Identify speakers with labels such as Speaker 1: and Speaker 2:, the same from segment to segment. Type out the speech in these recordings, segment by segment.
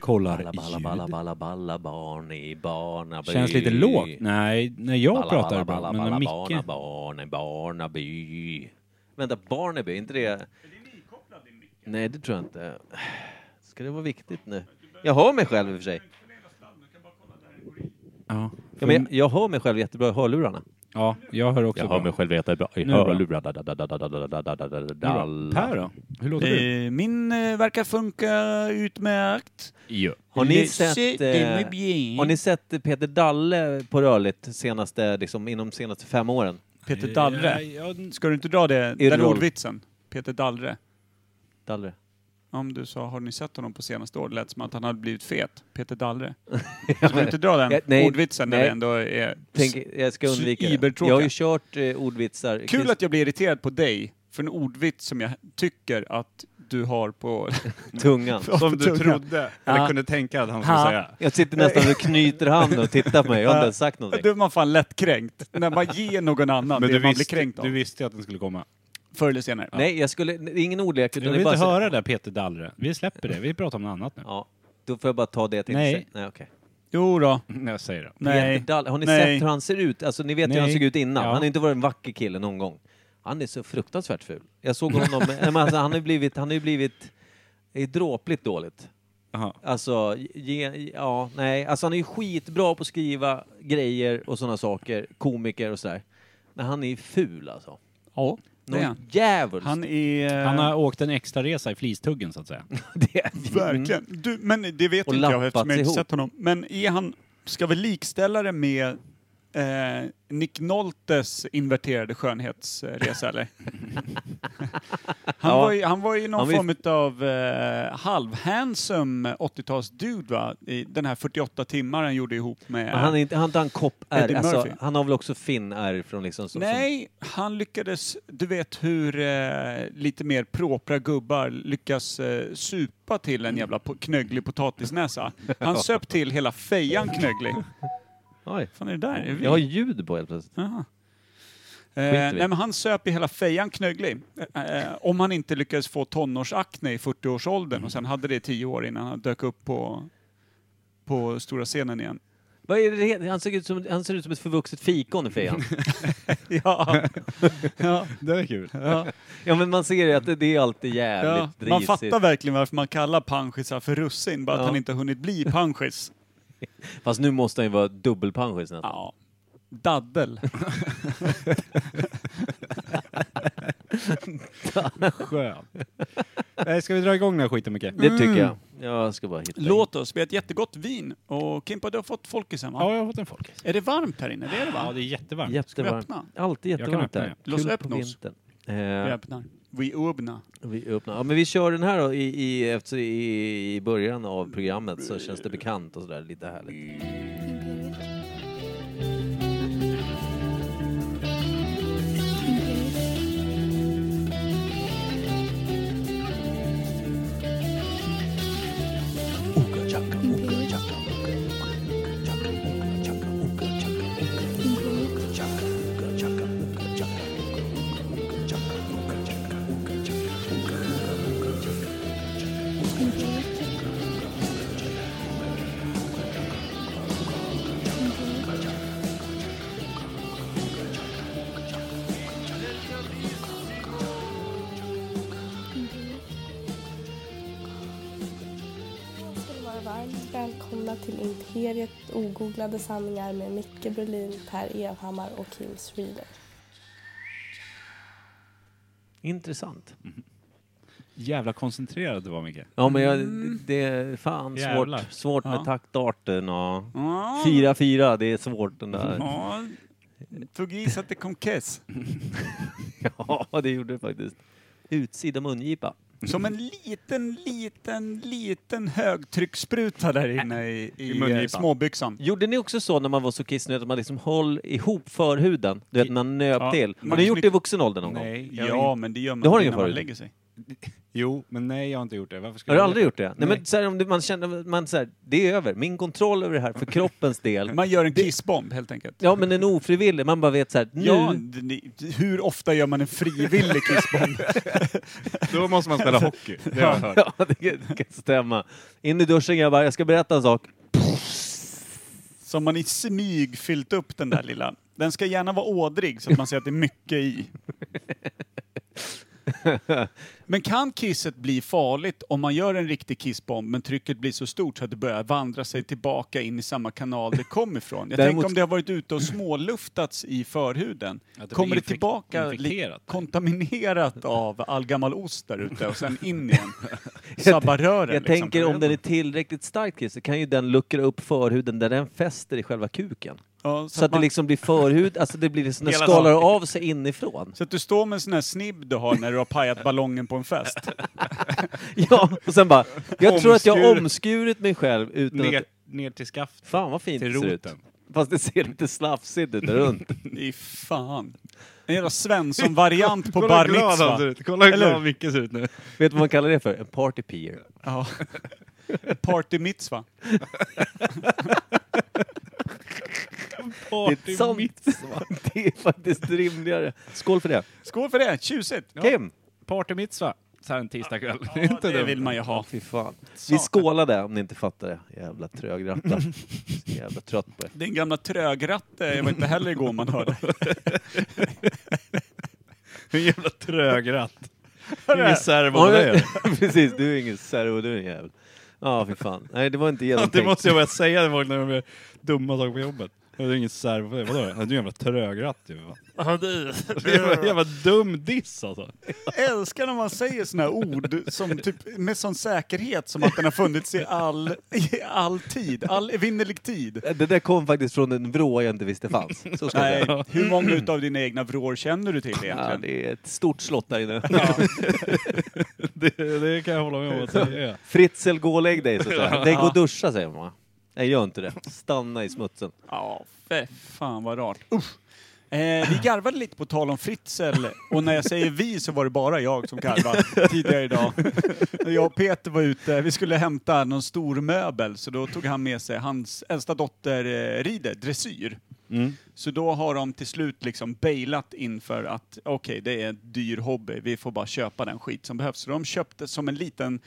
Speaker 1: kollar
Speaker 2: Balla, balla,
Speaker 1: ljud.
Speaker 2: balla, balla, balla, barn i Barnaby.
Speaker 1: Känns lite lågt. Nej, när jag
Speaker 2: Balla,
Speaker 1: pratar
Speaker 2: balla,
Speaker 1: ibland.
Speaker 2: balla,
Speaker 1: men när
Speaker 2: balla, barna,
Speaker 1: Micke...
Speaker 2: barn i Barnaby. Vänta, Barnaby, är inte det... Är det Nej, det tror jag inte. Ska det vara viktigt nu? Jag hör mig själv i och för sig.
Speaker 1: Ja,
Speaker 2: Ja, men jag, jag hör mig själv jättebra i hörlurarna.
Speaker 1: ja, jag hör också bra.
Speaker 2: själv jättebra i
Speaker 1: Nu är det bra. Nu är det bra.
Speaker 2: hörlurarna.
Speaker 1: Per då? Hur låter du?
Speaker 3: Eh, min eh, verkar funka utmärkt.
Speaker 2: Har ni
Speaker 3: Le-
Speaker 2: sett...
Speaker 3: det är
Speaker 2: eh,
Speaker 3: muy bien.
Speaker 2: Har ni sett Peter Dalle på rörligt senaste, liksom, inom de senaste fem åren?
Speaker 3: Peter Dallre.
Speaker 1: Ja, ja,
Speaker 3: Ska du inte dra det,
Speaker 2: I
Speaker 3: den
Speaker 2: roll.
Speaker 3: ordvitsen? Peter Dallre.
Speaker 2: Dalle?
Speaker 3: Om du sa, har ni sett honom på senaste året? lät som att han hade blivit fet. Peter Dallre. Ska du inte dra den
Speaker 2: Ja, nej,
Speaker 3: ordvitsen när
Speaker 2: nej.
Speaker 3: det ändå är...
Speaker 2: Tänk, jag ska
Speaker 3: Så
Speaker 2: undvika det.
Speaker 3: ibertråkiga.
Speaker 2: Jag har ju kört eh, ordvitsar.
Speaker 3: Kul att jag blir irriterad på dig för en ordvits som jag tycker att du har på...
Speaker 2: Tungan.
Speaker 4: Som du
Speaker 3: tunga.
Speaker 4: trodde, eller
Speaker 3: Ja.
Speaker 4: kunde tänka att han skulle
Speaker 3: Ha.
Speaker 4: säga.
Speaker 2: Jag sitter nästan och knyter handen och tittar på mig. Jag har inte ens sagt
Speaker 3: Då
Speaker 2: någonting.
Speaker 3: är man fan lättkränkt. När man ger någon
Speaker 4: Men
Speaker 3: annan det
Speaker 4: du
Speaker 3: man blir
Speaker 4: visste,
Speaker 3: kränkt av.
Speaker 4: du visste att den skulle komma.
Speaker 3: Förr eller senare.
Speaker 2: Nej, jag skulle... Det är ingen ordlek.
Speaker 4: Jag
Speaker 2: Utan det
Speaker 4: vill
Speaker 2: är bara
Speaker 4: inte
Speaker 2: så-
Speaker 4: höra det där Peter Dallre. Vi släpper det, vi pratar om något annat nu.
Speaker 2: Ja, då får jag bara ta det jag tänkte
Speaker 4: Nej.
Speaker 2: säga. Nej, okej.
Speaker 3: Jo då.
Speaker 4: Jag säger det.
Speaker 3: Nej.
Speaker 2: Peter Dalle, har ni
Speaker 3: Nej.
Speaker 2: sett hur han ser ut? Alltså, ni vet hur han
Speaker 4: Nej.
Speaker 2: såg ut innan.
Speaker 4: Ja.
Speaker 2: Han har inte varit en vacker kille någon gång. Han är så fruktansvärt ful. Jag såg honom... Nej, men alltså, han har ju blivit... Han har ju blivit... Det är dråpligt dåligt.
Speaker 4: Jaha.
Speaker 2: Alltså, ge, ja, nej. Alltså han är ju skitbra på att skriva grejer och sådana saker. Komiker och sådär. Men han är ju ful alltså.
Speaker 3: Ja, det är
Speaker 2: Någon
Speaker 3: han.
Speaker 2: djävulskt.
Speaker 3: Han är...
Speaker 4: Han har åkt en extra resa i flistuggen så att säga.
Speaker 2: Det är-
Speaker 3: Verkligen. Du, men det
Speaker 2: Mm.
Speaker 3: vet
Speaker 2: Och
Speaker 3: inte jag
Speaker 2: lappats
Speaker 3: eftersom jag inte
Speaker 2: ihop.
Speaker 3: sett honom. Men är han, ska vi likställa det med eh, Nick Noltes inverterade skönhetsresa eller? han,
Speaker 2: Ja.
Speaker 3: var ju, han var ju någon
Speaker 2: Han var ju-
Speaker 3: form av eh, halvhandsome 80-talsdude va? I den här 48 timmar han gjorde ihop med...
Speaker 2: Men han är inte, han har inte han kopp är
Speaker 3: Eddie
Speaker 2: alltså,
Speaker 3: Murphy.
Speaker 2: Han har väl också finn är från liksom... Som,
Speaker 3: Nej, han lyckades, du vet hur eh, lite mer propra gubbar lyckas eh, supa till
Speaker 2: Mm.
Speaker 3: en jävla po- knögglig potatisnäsa. Han söp till hela fejan knögglig.
Speaker 2: Som, oj.
Speaker 3: fan är det där? Är vi?
Speaker 2: Jag har ljud på helt plötsligt.
Speaker 3: Jaha. Eh,
Speaker 2: i
Speaker 3: nej
Speaker 2: det.
Speaker 3: men han söp i hela fejan knögglig. Eh, eh, om han inte lyckades få tonårsakne i 40-årsåldern och sen hade det i 10 år innan han dök upp på, på stora scenen igen.
Speaker 2: Vad är det? Han, ser ut som, han ser ut som ett förvuxet fikon i fejan.
Speaker 3: Ja, ja,
Speaker 4: Det är kul.
Speaker 3: ja.
Speaker 2: ja men man ser ju att det, det är alltid
Speaker 3: Ja,
Speaker 2: jävligt
Speaker 3: man fattar
Speaker 2: risigt.
Speaker 3: verkligen varför man kallar panschisar för russin, bara
Speaker 2: Ja.
Speaker 3: att han inte har hunnit bli panschis.
Speaker 2: Fast nu måste han ju vara dubbelpanschis nästan.
Speaker 3: Ja. Daddel.
Speaker 4: Skönt. Nej, ska vi dra igång den här skiten Micke?
Speaker 2: Det tycker
Speaker 4: Mm.
Speaker 2: jag. Jag ska bara hitta in.
Speaker 3: Mm. Låt oss, vi har ett jättegott vin. Och Kimpa, du har fått folkisen va?
Speaker 4: Ja, jag har fått en folkis.
Speaker 3: Är det varmt här inne? Det är det
Speaker 4: Ja,
Speaker 3: va?
Speaker 4: det är jättevarmt.
Speaker 3: Ska vi
Speaker 2: Jättevarmt.
Speaker 3: öppna?
Speaker 2: Alltid
Speaker 4: kan
Speaker 2: jättevarmt
Speaker 4: öppna
Speaker 2: där.
Speaker 4: det.
Speaker 3: Los
Speaker 2: Kul på
Speaker 3: öppnos.
Speaker 2: vintern.
Speaker 3: Vi
Speaker 2: Eh,
Speaker 3: öppnar. Vi öppnar.
Speaker 2: vi öppnar. Ja, men vi kör den här då i, i, efter, i, i början av programmet så känns det bekant och sådär lite härligt.
Speaker 5: ska ni vara varmt välkomna till Imperiet ogooglade sanningar med Micke Berlin, Per Evhammar och Kim Sweden.
Speaker 2: Intressant.
Speaker 4: Jävla koncentrerad du var Micke.
Speaker 2: Ja men jag, det är fan
Speaker 4: Jävlar.
Speaker 2: svårt, svårt med
Speaker 3: Ja.
Speaker 2: taktarten och
Speaker 3: Ja.
Speaker 2: 4-4, det är svårt den där.
Speaker 3: Ja. Tog is att det kom kess.
Speaker 2: Ja det gjorde det faktiskt. Utsida mungipa.
Speaker 3: Som en liten, liten, liten högtrycksspruta där inne i,
Speaker 4: I
Speaker 3: i, eh,
Speaker 4: mungipan.
Speaker 3: småbyxan.
Speaker 2: Gjorde ni också så när man var så kissnödig att man liksom höll ihop förhuden? Du vet, när man nöp
Speaker 3: Ja,
Speaker 2: till. Har
Speaker 3: man
Speaker 2: ni gjort
Speaker 3: knyck-
Speaker 2: det i vuxen ålder någon gång?
Speaker 3: Ja, men det gör man
Speaker 2: Det har
Speaker 3: väl
Speaker 2: ingen
Speaker 3: innan man
Speaker 2: förut.
Speaker 3: lägger sig.
Speaker 4: Jo, men nej jag har inte gjort det. Varför
Speaker 2: Har
Speaker 4: skulle
Speaker 2: du
Speaker 4: jag
Speaker 2: aldrig
Speaker 4: göra
Speaker 2: gjort det? Nej, men så här, om du, man känner, man så här, det är över. Min kontroll över det här för kroppens del.
Speaker 3: Man gör en kissbomb helt enkelt.
Speaker 2: Ja, men en ofrivillig. Man bara vet så här, nu...
Speaker 3: Ja, d- ni- hur ofta gör man en frivillig kissbomb?
Speaker 4: det? Då måste man spela hockey. Det har jag hört.
Speaker 2: Ja, det kan, det kan stämma. In i duschen grabbar, jag ska berätta en sak.
Speaker 3: Som man i smyg fyllt upp den där lilla. Den ska gärna vara ådrig så att man ser att det är mycket i. Men kan kisset bli farligt om man gör en riktig kissbomb men trycket blir så stort så att det börjar vandra sig tillbaka in i samma kanal det kom ifrån? Jag
Speaker 2: Däremot-
Speaker 3: tänker om det har varit ute och småluftats i förhuden.
Speaker 4: Att det
Speaker 3: kommer
Speaker 4: blir
Speaker 3: det
Speaker 4: infek-
Speaker 3: tillbaka li-
Speaker 4: infekterat.
Speaker 3: kontaminerat av all gammal ost där ute och sen in igen? Sabbar rören
Speaker 2: Jag
Speaker 3: liksom.
Speaker 2: tänker om den är tillräckligt stark kiss så kan ju den luckra upp förhuden där den fäster i själva kuken.
Speaker 3: Ja, så,
Speaker 2: Så, att
Speaker 3: man-
Speaker 2: det liksom blir förhud, alltså det blir liksom, den
Speaker 3: Hela
Speaker 2: skalar
Speaker 3: saken.
Speaker 2: av sig inifrån.
Speaker 3: så att du står med en sån här snibb du har när du har pajat ballongen på en fest.
Speaker 2: Ja, och sen bara, jag tror att jag har
Speaker 4: Omskur-
Speaker 2: omskurit mig själv utan
Speaker 4: Ner,
Speaker 2: att...
Speaker 4: ner till skaft.
Speaker 2: Fan vad fint
Speaker 4: till
Speaker 2: det ser ut.
Speaker 4: roten.
Speaker 2: Fast det ser lite slafsigt ut där runt.
Speaker 3: I fan. En jävla Svensson-variant på
Speaker 4: Kolla
Speaker 3: Bar
Speaker 4: hur glad han ser
Speaker 3: Mitzva.
Speaker 4: ut. Kolla hur
Speaker 3: Eller
Speaker 4: glad Micke ser ut nu.
Speaker 2: Vet du vad man kallar det för? En party peer.
Speaker 3: Ja. Party Mitzva.
Speaker 2: Det är, sant. det är faktiskt rimligare. Skål för det.
Speaker 3: Skål för det, tjusigt!
Speaker 2: Kim!
Speaker 4: Party mitzva. Så här en tisdagkväll. inte
Speaker 3: Det
Speaker 4: dumt.
Speaker 3: vill man ju ha.
Speaker 2: Fy fan. Vi skålade om ni inte fattar det. Jävla trögrattar. Så Jävla trött på det.
Speaker 3: Din gamla trögratte var inte heller igår man hörde.
Speaker 4: En jävla trögratt.
Speaker 3: Hörru,
Speaker 4: Ingen servo på dig. eller?
Speaker 2: Precis, du är ingen servo, du är en jävel. Ja, fy fan. Nej, det var inte
Speaker 4: Det
Speaker 2: genomtänkt.
Speaker 4: måste jag börja säga till folk när de gör dumma saker på jobbet. Det är ingen servo på dig. Vadå? Du är en jävla trögratt ju. fan. Det är en jävla dum diss alltså.
Speaker 3: Älskar när man säger såna här ord som typ, med sån säkerhet som att den har funnits i all, i all tid, all evinnerlig tid.
Speaker 2: Det där kom faktiskt från en vrå jag inte visste fanns. Så ska jag
Speaker 3: Nej,
Speaker 2: säga.
Speaker 3: hur många utav dina egna vrår känner du till
Speaker 2: Ja,
Speaker 3: egentligen?
Speaker 2: det är ett stort slott där inne.
Speaker 4: Det, det kan jag hålla med om att det är.
Speaker 2: Fritzl, gå och lägg dig, så att säga. Nej, gå och duscha, säger man. va? Nej, gör inte det. Stanna i smutsen.
Speaker 3: Ja, fy fan vad rart. Usch. Eh, vi garvade lite på tal om Fritzl och när jag säger vi så var det bara jag som garvade tidigare idag. Jag och Peter var ute, vi skulle hämta någon stor möbel så då tog han med sig, hans äldsta dotter eh, rider dressyr. Så då har de till slut liksom bailat inför att okej, det är en dyr hobby, vi får bara köpa den skit som behövs. Så de köpte som en liten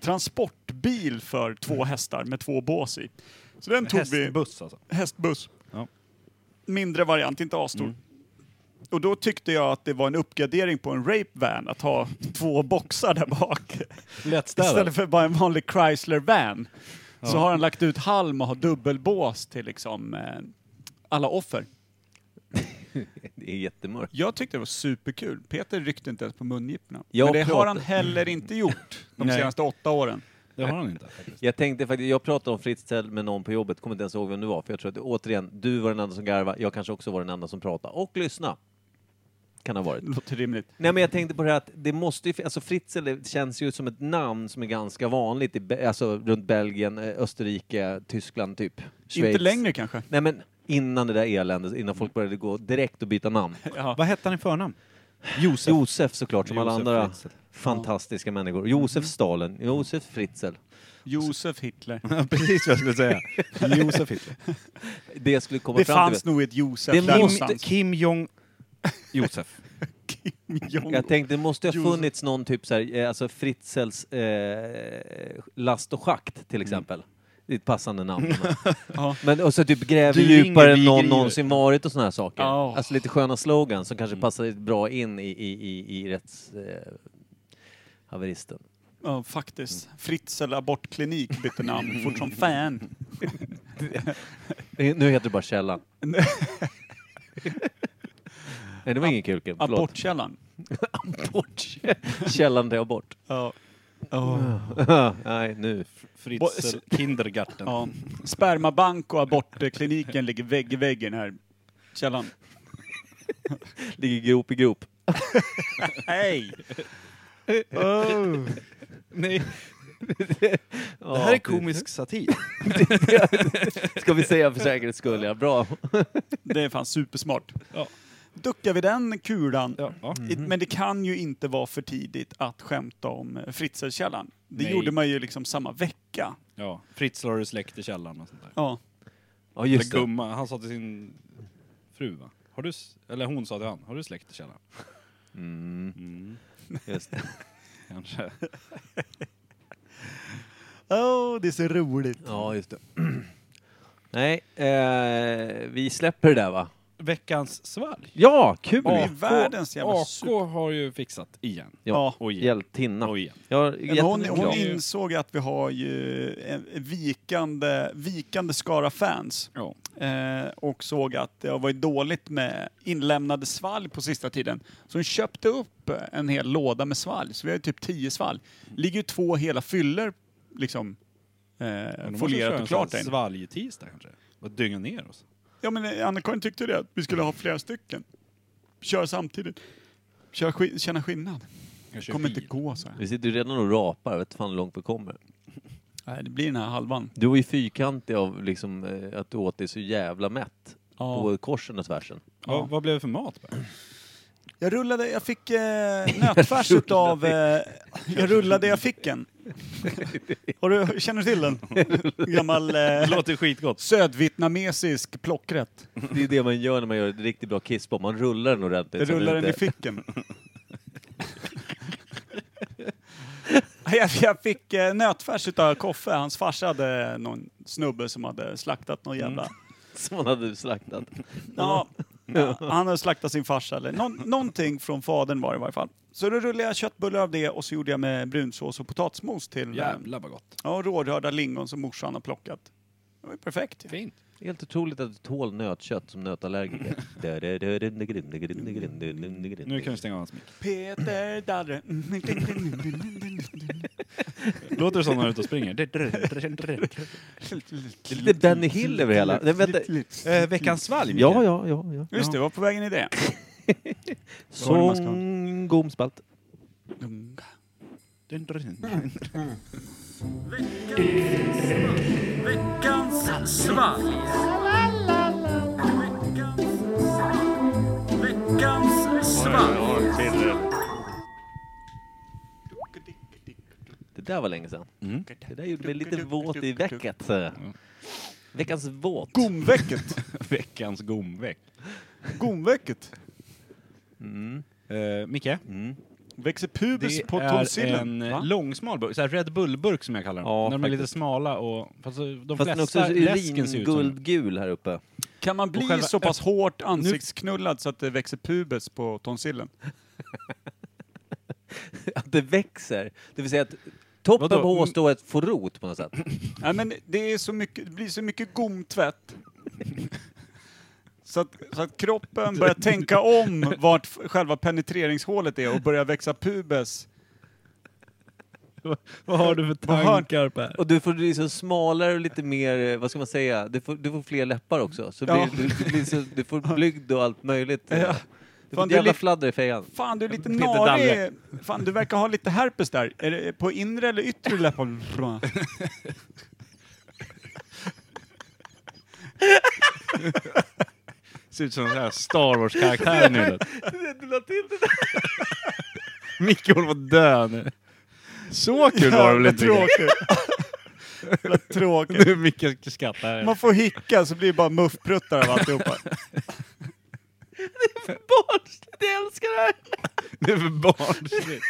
Speaker 3: transportbil för två hästar med två bås i. Så den tog vi
Speaker 4: Hästbuss alltså.
Speaker 3: hästbuss.
Speaker 4: Ja.
Speaker 3: Mindre variant, inte asstor. Och då tyckte jag att det var en uppgradering på en rape van att ha två boxar där bak.
Speaker 4: Lättstädad.
Speaker 3: Istället för bara en vanlig Chrysler van. Så har han lagt ut halm och har dubbelbås till liksom eh, alla offer.
Speaker 2: Det är jättemörkt.
Speaker 3: Jag tyckte det var superkul. Peter ryckte inte ens på mungiporna.
Speaker 2: Jag
Speaker 3: Men det har
Speaker 2: pratar-
Speaker 3: han heller inte gjort de
Speaker 4: Nej.
Speaker 3: senaste åtta åren.
Speaker 4: Det har han inte. faktiskt.
Speaker 2: Jag tänkte faktiskt, jag pratade om Fritzl med någon på jobbet, kommer inte ens ihåg vem det var, för jag tror att återigen, du var den enda som garvade, jag kanske också var den enda som pratade och lyssna. Kan ha varit.
Speaker 3: Låter rimligt.
Speaker 2: Nej men jag tänkte på det här att det måste ju, alltså Fritzl det känns ju som ett namn som är ganska vanligt i, Be- alltså runt Belgien, eh, Österrike, Tyskland typ. Schweiz.
Speaker 3: Inte längre kanske.
Speaker 2: Nej men innan det där eländet, innan folk började gå direkt och byta namn.
Speaker 3: Ja.
Speaker 4: Vad hette han i förnamn?
Speaker 2: Josef. Josef såklart, som alla
Speaker 4: Josef
Speaker 2: andra
Speaker 4: Fritzl.
Speaker 2: fantastiska människor. Josef Stalin, Josef Fritzl.
Speaker 3: Josef Hitler.
Speaker 4: Precis vad jag skulle säga. Josef Hitler.
Speaker 2: Det jag skulle komma
Speaker 3: Det
Speaker 2: fram
Speaker 3: fanns nog ett Josef
Speaker 2: Det
Speaker 3: där
Speaker 2: måste-
Speaker 3: någonstans.
Speaker 4: Kim Jong... Josef.
Speaker 3: Jong.
Speaker 2: Jag tänkte, det måste ju ha
Speaker 3: Josef.
Speaker 2: funnits någon typ så här, eh, alltså Fritzels eh, last och schakt
Speaker 4: Mm.
Speaker 2: till exempel. Det är ett passande namn.
Speaker 3: Ja.
Speaker 2: Men och så typ gräver
Speaker 4: Du ringer,
Speaker 2: djupare än
Speaker 4: vi
Speaker 2: någon
Speaker 4: griver.
Speaker 2: någonsin varit och såna här saker.
Speaker 3: Ja.
Speaker 2: Alltså lite sköna slogan som kanske passar bra in i, i, i, i rätts... Eh, haveristen.
Speaker 3: Ja, faktiskt.
Speaker 4: Mm.
Speaker 3: Fritzl abortklinik bytte namn fort som fan.
Speaker 2: Eh, Nu heter det bara Källan. Nej, det var ingen kul Kim. Förlåt.
Speaker 3: Abortkällan.
Speaker 2: Abort. Källan till abort.
Speaker 3: Ja. Ja.
Speaker 2: Nej, nu.
Speaker 4: Fritzl Kindergarten.
Speaker 3: Ja. Spermabank och abortkliniken ligger vägg i väggen här. Källan.
Speaker 2: Ligger grop i grop.
Speaker 3: Hej!
Speaker 4: Oh. Nej,
Speaker 2: Ja,
Speaker 4: det här är
Speaker 2: precis.
Speaker 4: komisk satir.
Speaker 2: Ska vi säga för säkerhets skull, ja. Bra.
Speaker 3: Det är fan supersmart.
Speaker 4: Ja.
Speaker 3: duckar vi den kulan.
Speaker 4: Ja. Mhm. Ja.
Speaker 3: I- Men det kan ju inte vara för tidigt att skämta om eh, Fritzl-källan. Det
Speaker 4: Nej.
Speaker 3: gjorde man ju liksom samma vecka.
Speaker 4: ja. Fritzl har du släkt i källaren och sånt där.
Speaker 3: Ja.
Speaker 2: Ja,
Speaker 4: Eller
Speaker 2: just det.
Speaker 4: gumma, han sa till sin fru va? Har du, s- eller hon sa till han, har du släkt i källaren?
Speaker 2: Mm,
Speaker 4: Mm,
Speaker 2: just det.
Speaker 4: kanske.
Speaker 3: Åh, det är så roligt.
Speaker 2: Ja, just det. Nej, eh, vi släpper det där va?
Speaker 4: Veckans svalg.
Speaker 2: Ja, kul!
Speaker 3: Det är världens jävla
Speaker 4: AK
Speaker 3: super...
Speaker 4: har ju fixat igen.
Speaker 2: Ja,
Speaker 4: Och igen.
Speaker 2: hjältinna.
Speaker 4: Och igen.
Speaker 2: Jag har
Speaker 3: Men Hon,
Speaker 2: jättemycket
Speaker 3: hon
Speaker 2: krav.
Speaker 3: insåg att vi har ju en vikande, vikande skara fans.
Speaker 4: Ja.
Speaker 3: eh, och såg att det har varit dåligt med inlämnade svalg på sista tiden. Så hon köpte upp en hel låda med svalg, så vi har ju typ tio svalg. ligger ju två hela fyller liksom eh, folierat och klart där inne.
Speaker 4: Svalgtisdag kanske? Och dynga ner oss.
Speaker 3: Ja men eh, Anna-Karin tyckte ju det, att vi skulle ha flera stycken. Kör samtidigt. Kör ski- känna skillnad.
Speaker 4: Jag kör
Speaker 3: Kommer
Speaker 4: bil.
Speaker 3: inte gå så här.
Speaker 2: Vi sitter ju redan och rapar, jag vet fan hur långt vi kommer.
Speaker 3: Nej, det blir den här halvan.
Speaker 2: Du var ju fyrkantig av liksom, eh, att du åt dig så jävla mätt. På korsen och tvärsen.
Speaker 4: Ja, vad blev det för mat? Bert?
Speaker 3: Jag rullade, jag fick eh, nötfärs utav... Eh, jag rullade, jag fick en. Har du, känner du till den? Gammal
Speaker 4: Det
Speaker 3: eh,
Speaker 4: låter skitgott.
Speaker 3: södvietnamesisk plockrätt.
Speaker 2: Det är det man gör när man gör ett riktigt bra kissbomb. Man rullar den ordentligt.
Speaker 3: Jag
Speaker 2: så
Speaker 3: rullade
Speaker 2: den
Speaker 3: den i
Speaker 2: inte-
Speaker 3: ficken. Jag, jag fick eh, nötfärs utav Koffe, hans farsa hade någon snubbe som hade slaktat någon jävla...
Speaker 2: Som man hade slaktat.
Speaker 3: Ja, ja, han hade slaktat sin farsa eller någon, någonting från fadern var det i varje fall. Så då rullade jag köttbullar av det och så gjorde jag med brunsås och potatismos till eh,
Speaker 4: Jävlar vad gott.
Speaker 3: Ja, och rårörda lingon som morsan har plockat. Det var ju perfekt. ju.
Speaker 4: Fint.
Speaker 2: Helt otroligt att du tål nötkött som nötallergiker.
Speaker 4: Nu kan vi stänga av hans mick.
Speaker 3: Peter Darre.
Speaker 4: Låter det som när du är ute och springer?
Speaker 2: Det är lite Benny Hill över hela. Nej, vänta.
Speaker 4: Eh, veckans svalg?
Speaker 2: Ja, ja, ja. ja.
Speaker 3: Just det, var på vägen i det. Vad var det man ska ha?
Speaker 2: Sång, gomspalt. Det där var länge sedan.
Speaker 4: Mm.
Speaker 2: Det där gjorde mig lite våt i vecket. Veckans våt.
Speaker 3: Gomvecket.
Speaker 4: Veckans gomveck.
Speaker 3: Gomvecket.
Speaker 4: Eh, Micke?
Speaker 3: Växer pubis
Speaker 4: Det
Speaker 3: på
Speaker 4: är
Speaker 3: tonsillen.
Speaker 4: en
Speaker 3: va?
Speaker 4: eh, långsmal burk, så här Red Bull-burk som jag kallar dem.
Speaker 2: Ja,
Speaker 4: När de är lite
Speaker 2: faktiskt.
Speaker 4: smala och... Fast eh, de
Speaker 2: Fast den är också
Speaker 4: flesta läsken ser ut som...
Speaker 2: uringuldgul här uppe.
Speaker 3: Kan man bli
Speaker 4: själva-
Speaker 3: så pass hårt ansiktsknullad så att det växer pubis på tonsillen?
Speaker 2: Att det växer. Det vill säga att toppen
Speaker 4: Vadå?
Speaker 2: på hårstrået får rot på något sätt.
Speaker 3: Nej, men det, är så mycket, det blir så mycket gomtvätt. Så att, så att kroppen börjar tänka om vart f- själva penetreringshålet är och börjar växa pubes.
Speaker 4: Vad har du för
Speaker 3: tankar,
Speaker 4: Per?
Speaker 2: Och du får liksom smalare och lite mer, eh, vad ska man säga, du får, du får fler läppar också. Så
Speaker 3: Ja.
Speaker 2: blir, du, du, blir så, du får blygd och allt möjligt.
Speaker 3: Ja.
Speaker 2: Du får
Speaker 3: Fan,
Speaker 2: ett
Speaker 3: du
Speaker 2: jävla
Speaker 3: li-
Speaker 2: fladder i fejan.
Speaker 3: Fan, du är lite
Speaker 2: Peter
Speaker 3: narig.
Speaker 2: Dalle.
Speaker 3: Fan, du verkar ha lite herpes där. Är det på inre eller yttre läppar?
Speaker 4: Ser ut som en sån här Star Wars-karaktär nu.
Speaker 2: Du la till det där.
Speaker 4: Micke håller på att dö nu. Så kul var det väl
Speaker 3: Jävla
Speaker 4: inte? Micke?
Speaker 3: tråkigt. Jävla tråkigt.
Speaker 4: Nu är Micke skrattar här.
Speaker 3: Man får hicka så blir det bara muffpruttar av alltihopa.
Speaker 2: Barnsligt, jag älskar det här!
Speaker 4: Det är för barnsligt.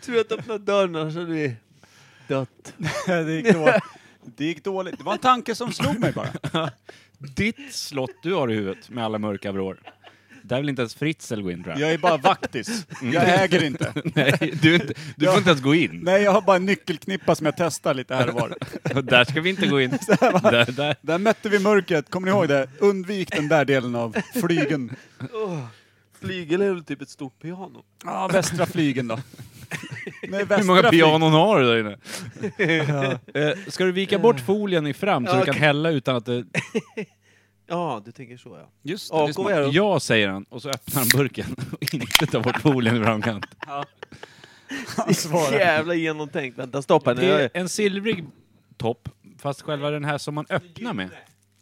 Speaker 2: Tur att öppna dörren annars hade vi dött.
Speaker 3: Det gick dåligt. Det gick dåligt. Det var en tanke som slog mig bara.
Speaker 4: Ditt slott du har i huvudet med alla mörka vrår. Där vill inte ens Fritzl gå in tror jag.
Speaker 3: Jag är bara vaktis. Jag äger inte.
Speaker 4: Nej, du, är inte- du får inte ens gå in.
Speaker 3: Nej, jag har bara en nyckelknippa som jag testar lite här och var.
Speaker 4: Där ska vi inte gå in. Där, där.
Speaker 3: Där mötte vi mörkret, kommer ni ihåg det? Undvik den där delen av flygen.
Speaker 2: Flygel är väl typ ett stort piano?
Speaker 3: Ja, västra flygen då. Nej, västra
Speaker 4: Hur många
Speaker 3: flyg-
Speaker 4: pianon har du där inne? Eh, Ska du vika bort folien i fram så
Speaker 2: Ja,
Speaker 4: du kan
Speaker 2: okej.
Speaker 4: hälla utan att det...
Speaker 2: Ja, du tänker så ja.
Speaker 3: Just det, det är
Speaker 2: AK
Speaker 3: smart.
Speaker 2: är de.
Speaker 4: Ja, säger han. Och så öppnar han burken och inte tar bort folien i framkant.
Speaker 3: Han svarar.
Speaker 2: Jävla genomtänkt. Vänta, stoppa nu.
Speaker 4: Det är en silvrig topp, fast själva den här som man öppnar med.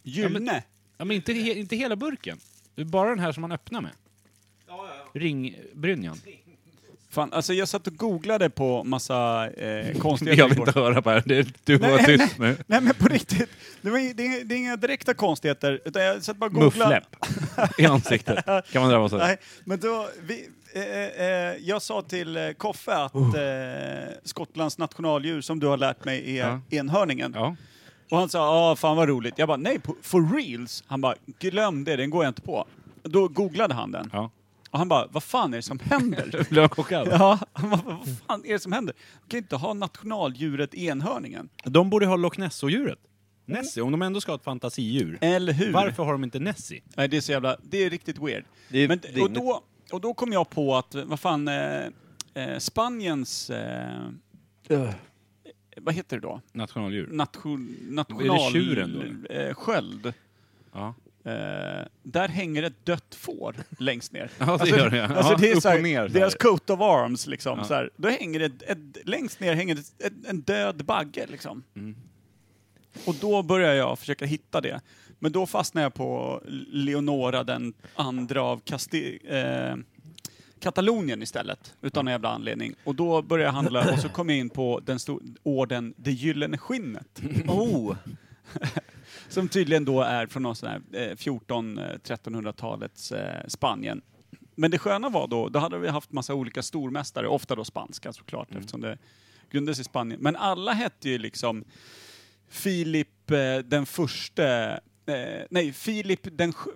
Speaker 3: Gyllene?
Speaker 1: Ja, men inte, he, inte hela burken. Det är Bara den här som man öppnar med. Ringbrynjan.
Speaker 3: Fan, alltså jag satt och googlade på massa eh, konstiga
Speaker 4: Jag vill
Speaker 3: trädgårdar.
Speaker 4: inte höra på det här. Det- Du får
Speaker 3: Nej,
Speaker 4: vara
Speaker 3: nej.
Speaker 4: tyst nu.
Speaker 3: Nej men på riktigt, det, var, ju- det, är- det är inga direkta konstigheter. Utan jag satt bara och googlade.
Speaker 4: Muffläpp i ansiktet. Kan man drabbas av.
Speaker 3: Nej, men då, vi, eh, eh, jag sa till eh, Koffe att
Speaker 4: Oh.
Speaker 3: eh, Skottlands nationaldjur som du har lärt mig är
Speaker 4: Ja.
Speaker 3: enhörningen.
Speaker 4: Ja.
Speaker 3: Och han sa, ja fan vad roligt. Jag bara, nej på, for reals. Han bara, glöm det, den går jag inte på. Då googlade han den.
Speaker 4: ja.
Speaker 3: Och han bara, vad fan är det som händer?
Speaker 4: Blev jag chockad?
Speaker 3: ja, han bara, vad fan är det som händer? Du kan inte ha nationaldjuret enhörningen.
Speaker 1: De borde ha Loch Ness-djuret. Nessie, om de ändå ska ha ett fantasidjur.
Speaker 3: Eller hur?
Speaker 1: Varför har de inte Nessie?
Speaker 3: Nej, det är så jävla... Det är riktigt weird.
Speaker 2: Det är
Speaker 3: Men, och,
Speaker 2: rimligt.
Speaker 3: då, och då kom jag på att, vad fan, eh, eh, Spaniens... Eh, vad heter det då?
Speaker 1: Nationaldjur.
Speaker 3: Nation, national...
Speaker 1: tjuren
Speaker 3: Eh, sköld.
Speaker 1: Ja.
Speaker 3: Eh, där hänger ett dött får längst ner.
Speaker 1: Ja, det gör det. Ja,
Speaker 3: alltså det är
Speaker 1: upp
Speaker 3: så här,
Speaker 1: och ner, så här.
Speaker 3: deras coat of arms liksom.
Speaker 1: Ja.
Speaker 3: Så här, då hänger det, ett, ett, längst ner hänger det ett, en död bagge liksom.
Speaker 1: Mm.
Speaker 3: Och då börjar jag försöka hitta det. Men då fastnar jag på Leonora den andra av Kasti... Eh, Katalonien istället, utan någon jävla anledning. Och då började jag handla och så kom jag in på den stor, orden Det Gyllene Skinnet.
Speaker 2: Oh!
Speaker 3: Som tydligen då är från någon sån här eh, 14-1300-talets eh, Spanien. Men det sköna var då, då hade vi haft massa olika stormästare, ofta då spanska såklart eftersom det grundades i Spanien. Men alla hette ju liksom Filip eh, den förste, eh, nej Filip den sjö...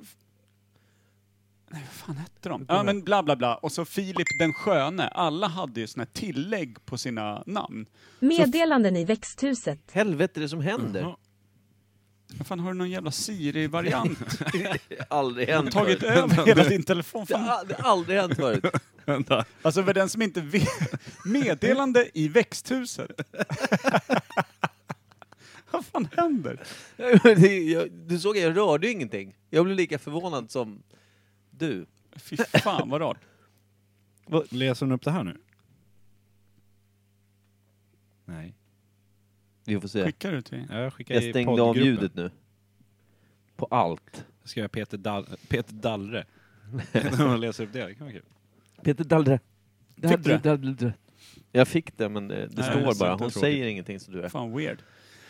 Speaker 3: Nej, vad fan hette de? Ja, men bla bla bla. Och så Filip den sköne. Alla hade ju såna här tillägg på sina namn.
Speaker 6: Meddelanden i växthuset.
Speaker 2: Helvete det är som händer.
Speaker 1: Jaha.
Speaker 3: Vad fan, har du någon jävla Siri-variant?
Speaker 2: Aldrig
Speaker 3: Han har
Speaker 2: hänt
Speaker 3: tagit
Speaker 2: förut.
Speaker 3: över hela din telefon.
Speaker 2: Det
Speaker 3: Fan.
Speaker 2: har det har aldrig hänt förut.
Speaker 4: Vänta.
Speaker 3: Alltså för den som inte vet. Meddelande i växthuset. Vad fan händer?
Speaker 2: Det- jag- Du såg, jag rörde ju ingenting. Jag blev lika förvånad som du.
Speaker 3: Fy fan vad rart.
Speaker 4: Läser hon upp det här nu? Nej.
Speaker 2: Vi får se.
Speaker 3: Skickar du till?
Speaker 4: Ja, Jag skickar
Speaker 2: Jag
Speaker 4: i
Speaker 2: stängde av
Speaker 4: poddgruppen.
Speaker 2: ljudet nu. På allt.
Speaker 4: Jag ska göra Peter, Dal Peter Dallre. När man läser upp det, det kan vara kul.
Speaker 2: Peter Dallre.
Speaker 3: Fick du det?
Speaker 2: Jag fick det, men det, det
Speaker 3: Nej,
Speaker 2: står
Speaker 3: det är
Speaker 2: bara.
Speaker 3: så
Speaker 2: Hon
Speaker 3: tråkigt.
Speaker 2: säger ingenting, så du är.
Speaker 3: Fan weird.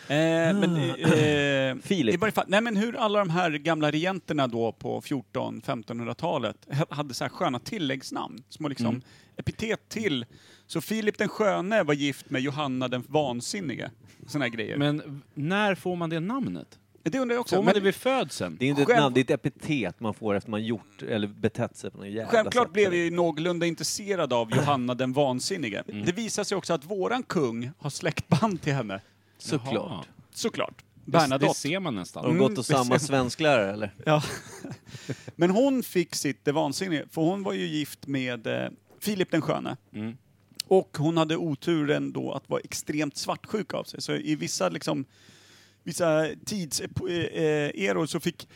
Speaker 3: Eh, men, eh,
Speaker 2: Filip.
Speaker 3: I varje fall, nej men hur alla de här gamla regenterna då på 14-1500-talet h- hade så här sköna tilläggsnamn, små liksom epitet till. Så Filip den sköne var gift med Johanna den vansinnige. Såna här grejer.
Speaker 1: Men v- när får man det namnet?
Speaker 3: det undrar jag också.
Speaker 1: Får man
Speaker 3: Men-
Speaker 1: det vid födseln?
Speaker 2: Det är inte ett
Speaker 3: Själv-
Speaker 2: namn, det är ett epitet man får efter man gjort eller betett sig på något jävla
Speaker 3: Självklart
Speaker 2: sätt.
Speaker 3: blev jag ju någorlunda intresserad av Johanna den vansinnige.
Speaker 1: Mm.
Speaker 3: Det visar sig också att våran kung har släktband till henne.
Speaker 2: Såklart.
Speaker 1: Jaha.
Speaker 3: Såklart.
Speaker 1: Det, det
Speaker 3: Bernadotte.
Speaker 1: ser man nästan.
Speaker 4: Mm.
Speaker 2: Har de
Speaker 3: Mm,
Speaker 2: gått och samma svensklärare eller?
Speaker 3: Ja. Men hon fick sitt det vansinnige, för hon var ju gift med eh, Filip den sköne. Och hon hade oturen då att vara extremt svartsjuk av sig. Så i vissa, liksom, vissa tidseror så fick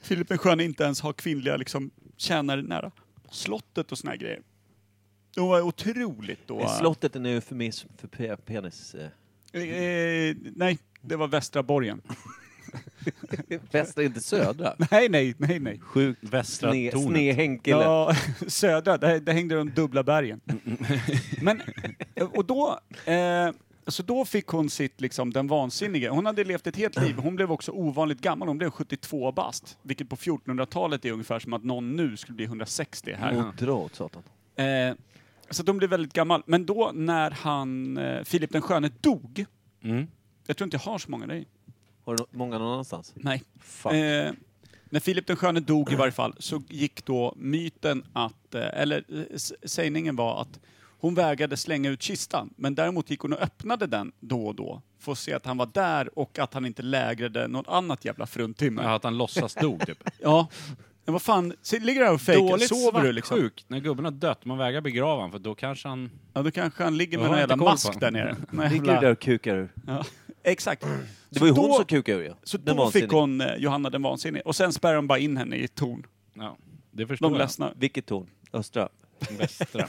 Speaker 3: Filip den sköne inte ens ha kvinnliga liksom, tjänare nära slottet och såna här grejer. Hon var otroligt då...
Speaker 2: Är Slottet är en eufemism för pe- penis. eh,
Speaker 3: Eh, eh, nej, det var västra borgen.
Speaker 2: Västra, inte södra.
Speaker 3: Nej, nej, nej, nej.
Speaker 2: Sjukt
Speaker 4: Västra
Speaker 2: sne,
Speaker 4: tornet.
Speaker 2: snehänkele.
Speaker 3: Ja, södra, där, där hängde de dubbla bergen. Men, och då, eh, så då fick hon sitt, liksom, den vansinniga. Hon hade levt ett helt liv. Hon blev också ovanligt gammal. Hon blev 72 bast. Vilket på 1400-talet är ungefär som att någon nu skulle bli 160 här.
Speaker 2: Och dra åt satan.
Speaker 3: Eh, så att hon blev väldigt gammal. Men då när han, eh, Filip den sköne dog. Jag tror inte jag har så många dig.
Speaker 2: Har du nå- många någon annanstans?
Speaker 3: Nej.
Speaker 2: Fan.
Speaker 3: Eh, när Filip den sköne dog i varje fall så gick då myten att, eh, eller eh, s- sägningen var att hon vägrade slänga ut kistan, men däremot gick hon och öppnade den då och då för att se att han var där och att han inte lägrade något annat jävla fruntimmer.
Speaker 1: Ja,
Speaker 3: Ja.
Speaker 1: att han låtsas dog typ.
Speaker 3: Men vad fan, se- ligger du här och fejkar?
Speaker 1: Dåligt
Speaker 3: Sover du liksom?
Speaker 1: svartsjuk när gubben har dött. Man vägrar begrava honom för då kanske han...
Speaker 3: Ja, då kanske han ligger med
Speaker 1: Jag har
Speaker 3: någon
Speaker 1: inte
Speaker 3: jävla
Speaker 1: koll på
Speaker 3: mask
Speaker 1: honom.
Speaker 3: där nere. Någon
Speaker 2: Ligger du
Speaker 3: jävla-
Speaker 2: där och kukar ur?
Speaker 3: Ja, exakt.
Speaker 2: Det var ju
Speaker 3: så
Speaker 2: hon
Speaker 3: då,
Speaker 2: som kukade ur ju.
Speaker 3: Så
Speaker 2: Den
Speaker 3: då fick
Speaker 2: vansinniga.
Speaker 3: hon eh, Johanna den vansinnige. Och sen spärrade de bara in henne i ett torn.
Speaker 1: Ja, det förstår
Speaker 3: De
Speaker 1: jag.
Speaker 3: ledsna.
Speaker 2: Vilket torn? Östra?
Speaker 1: Västra.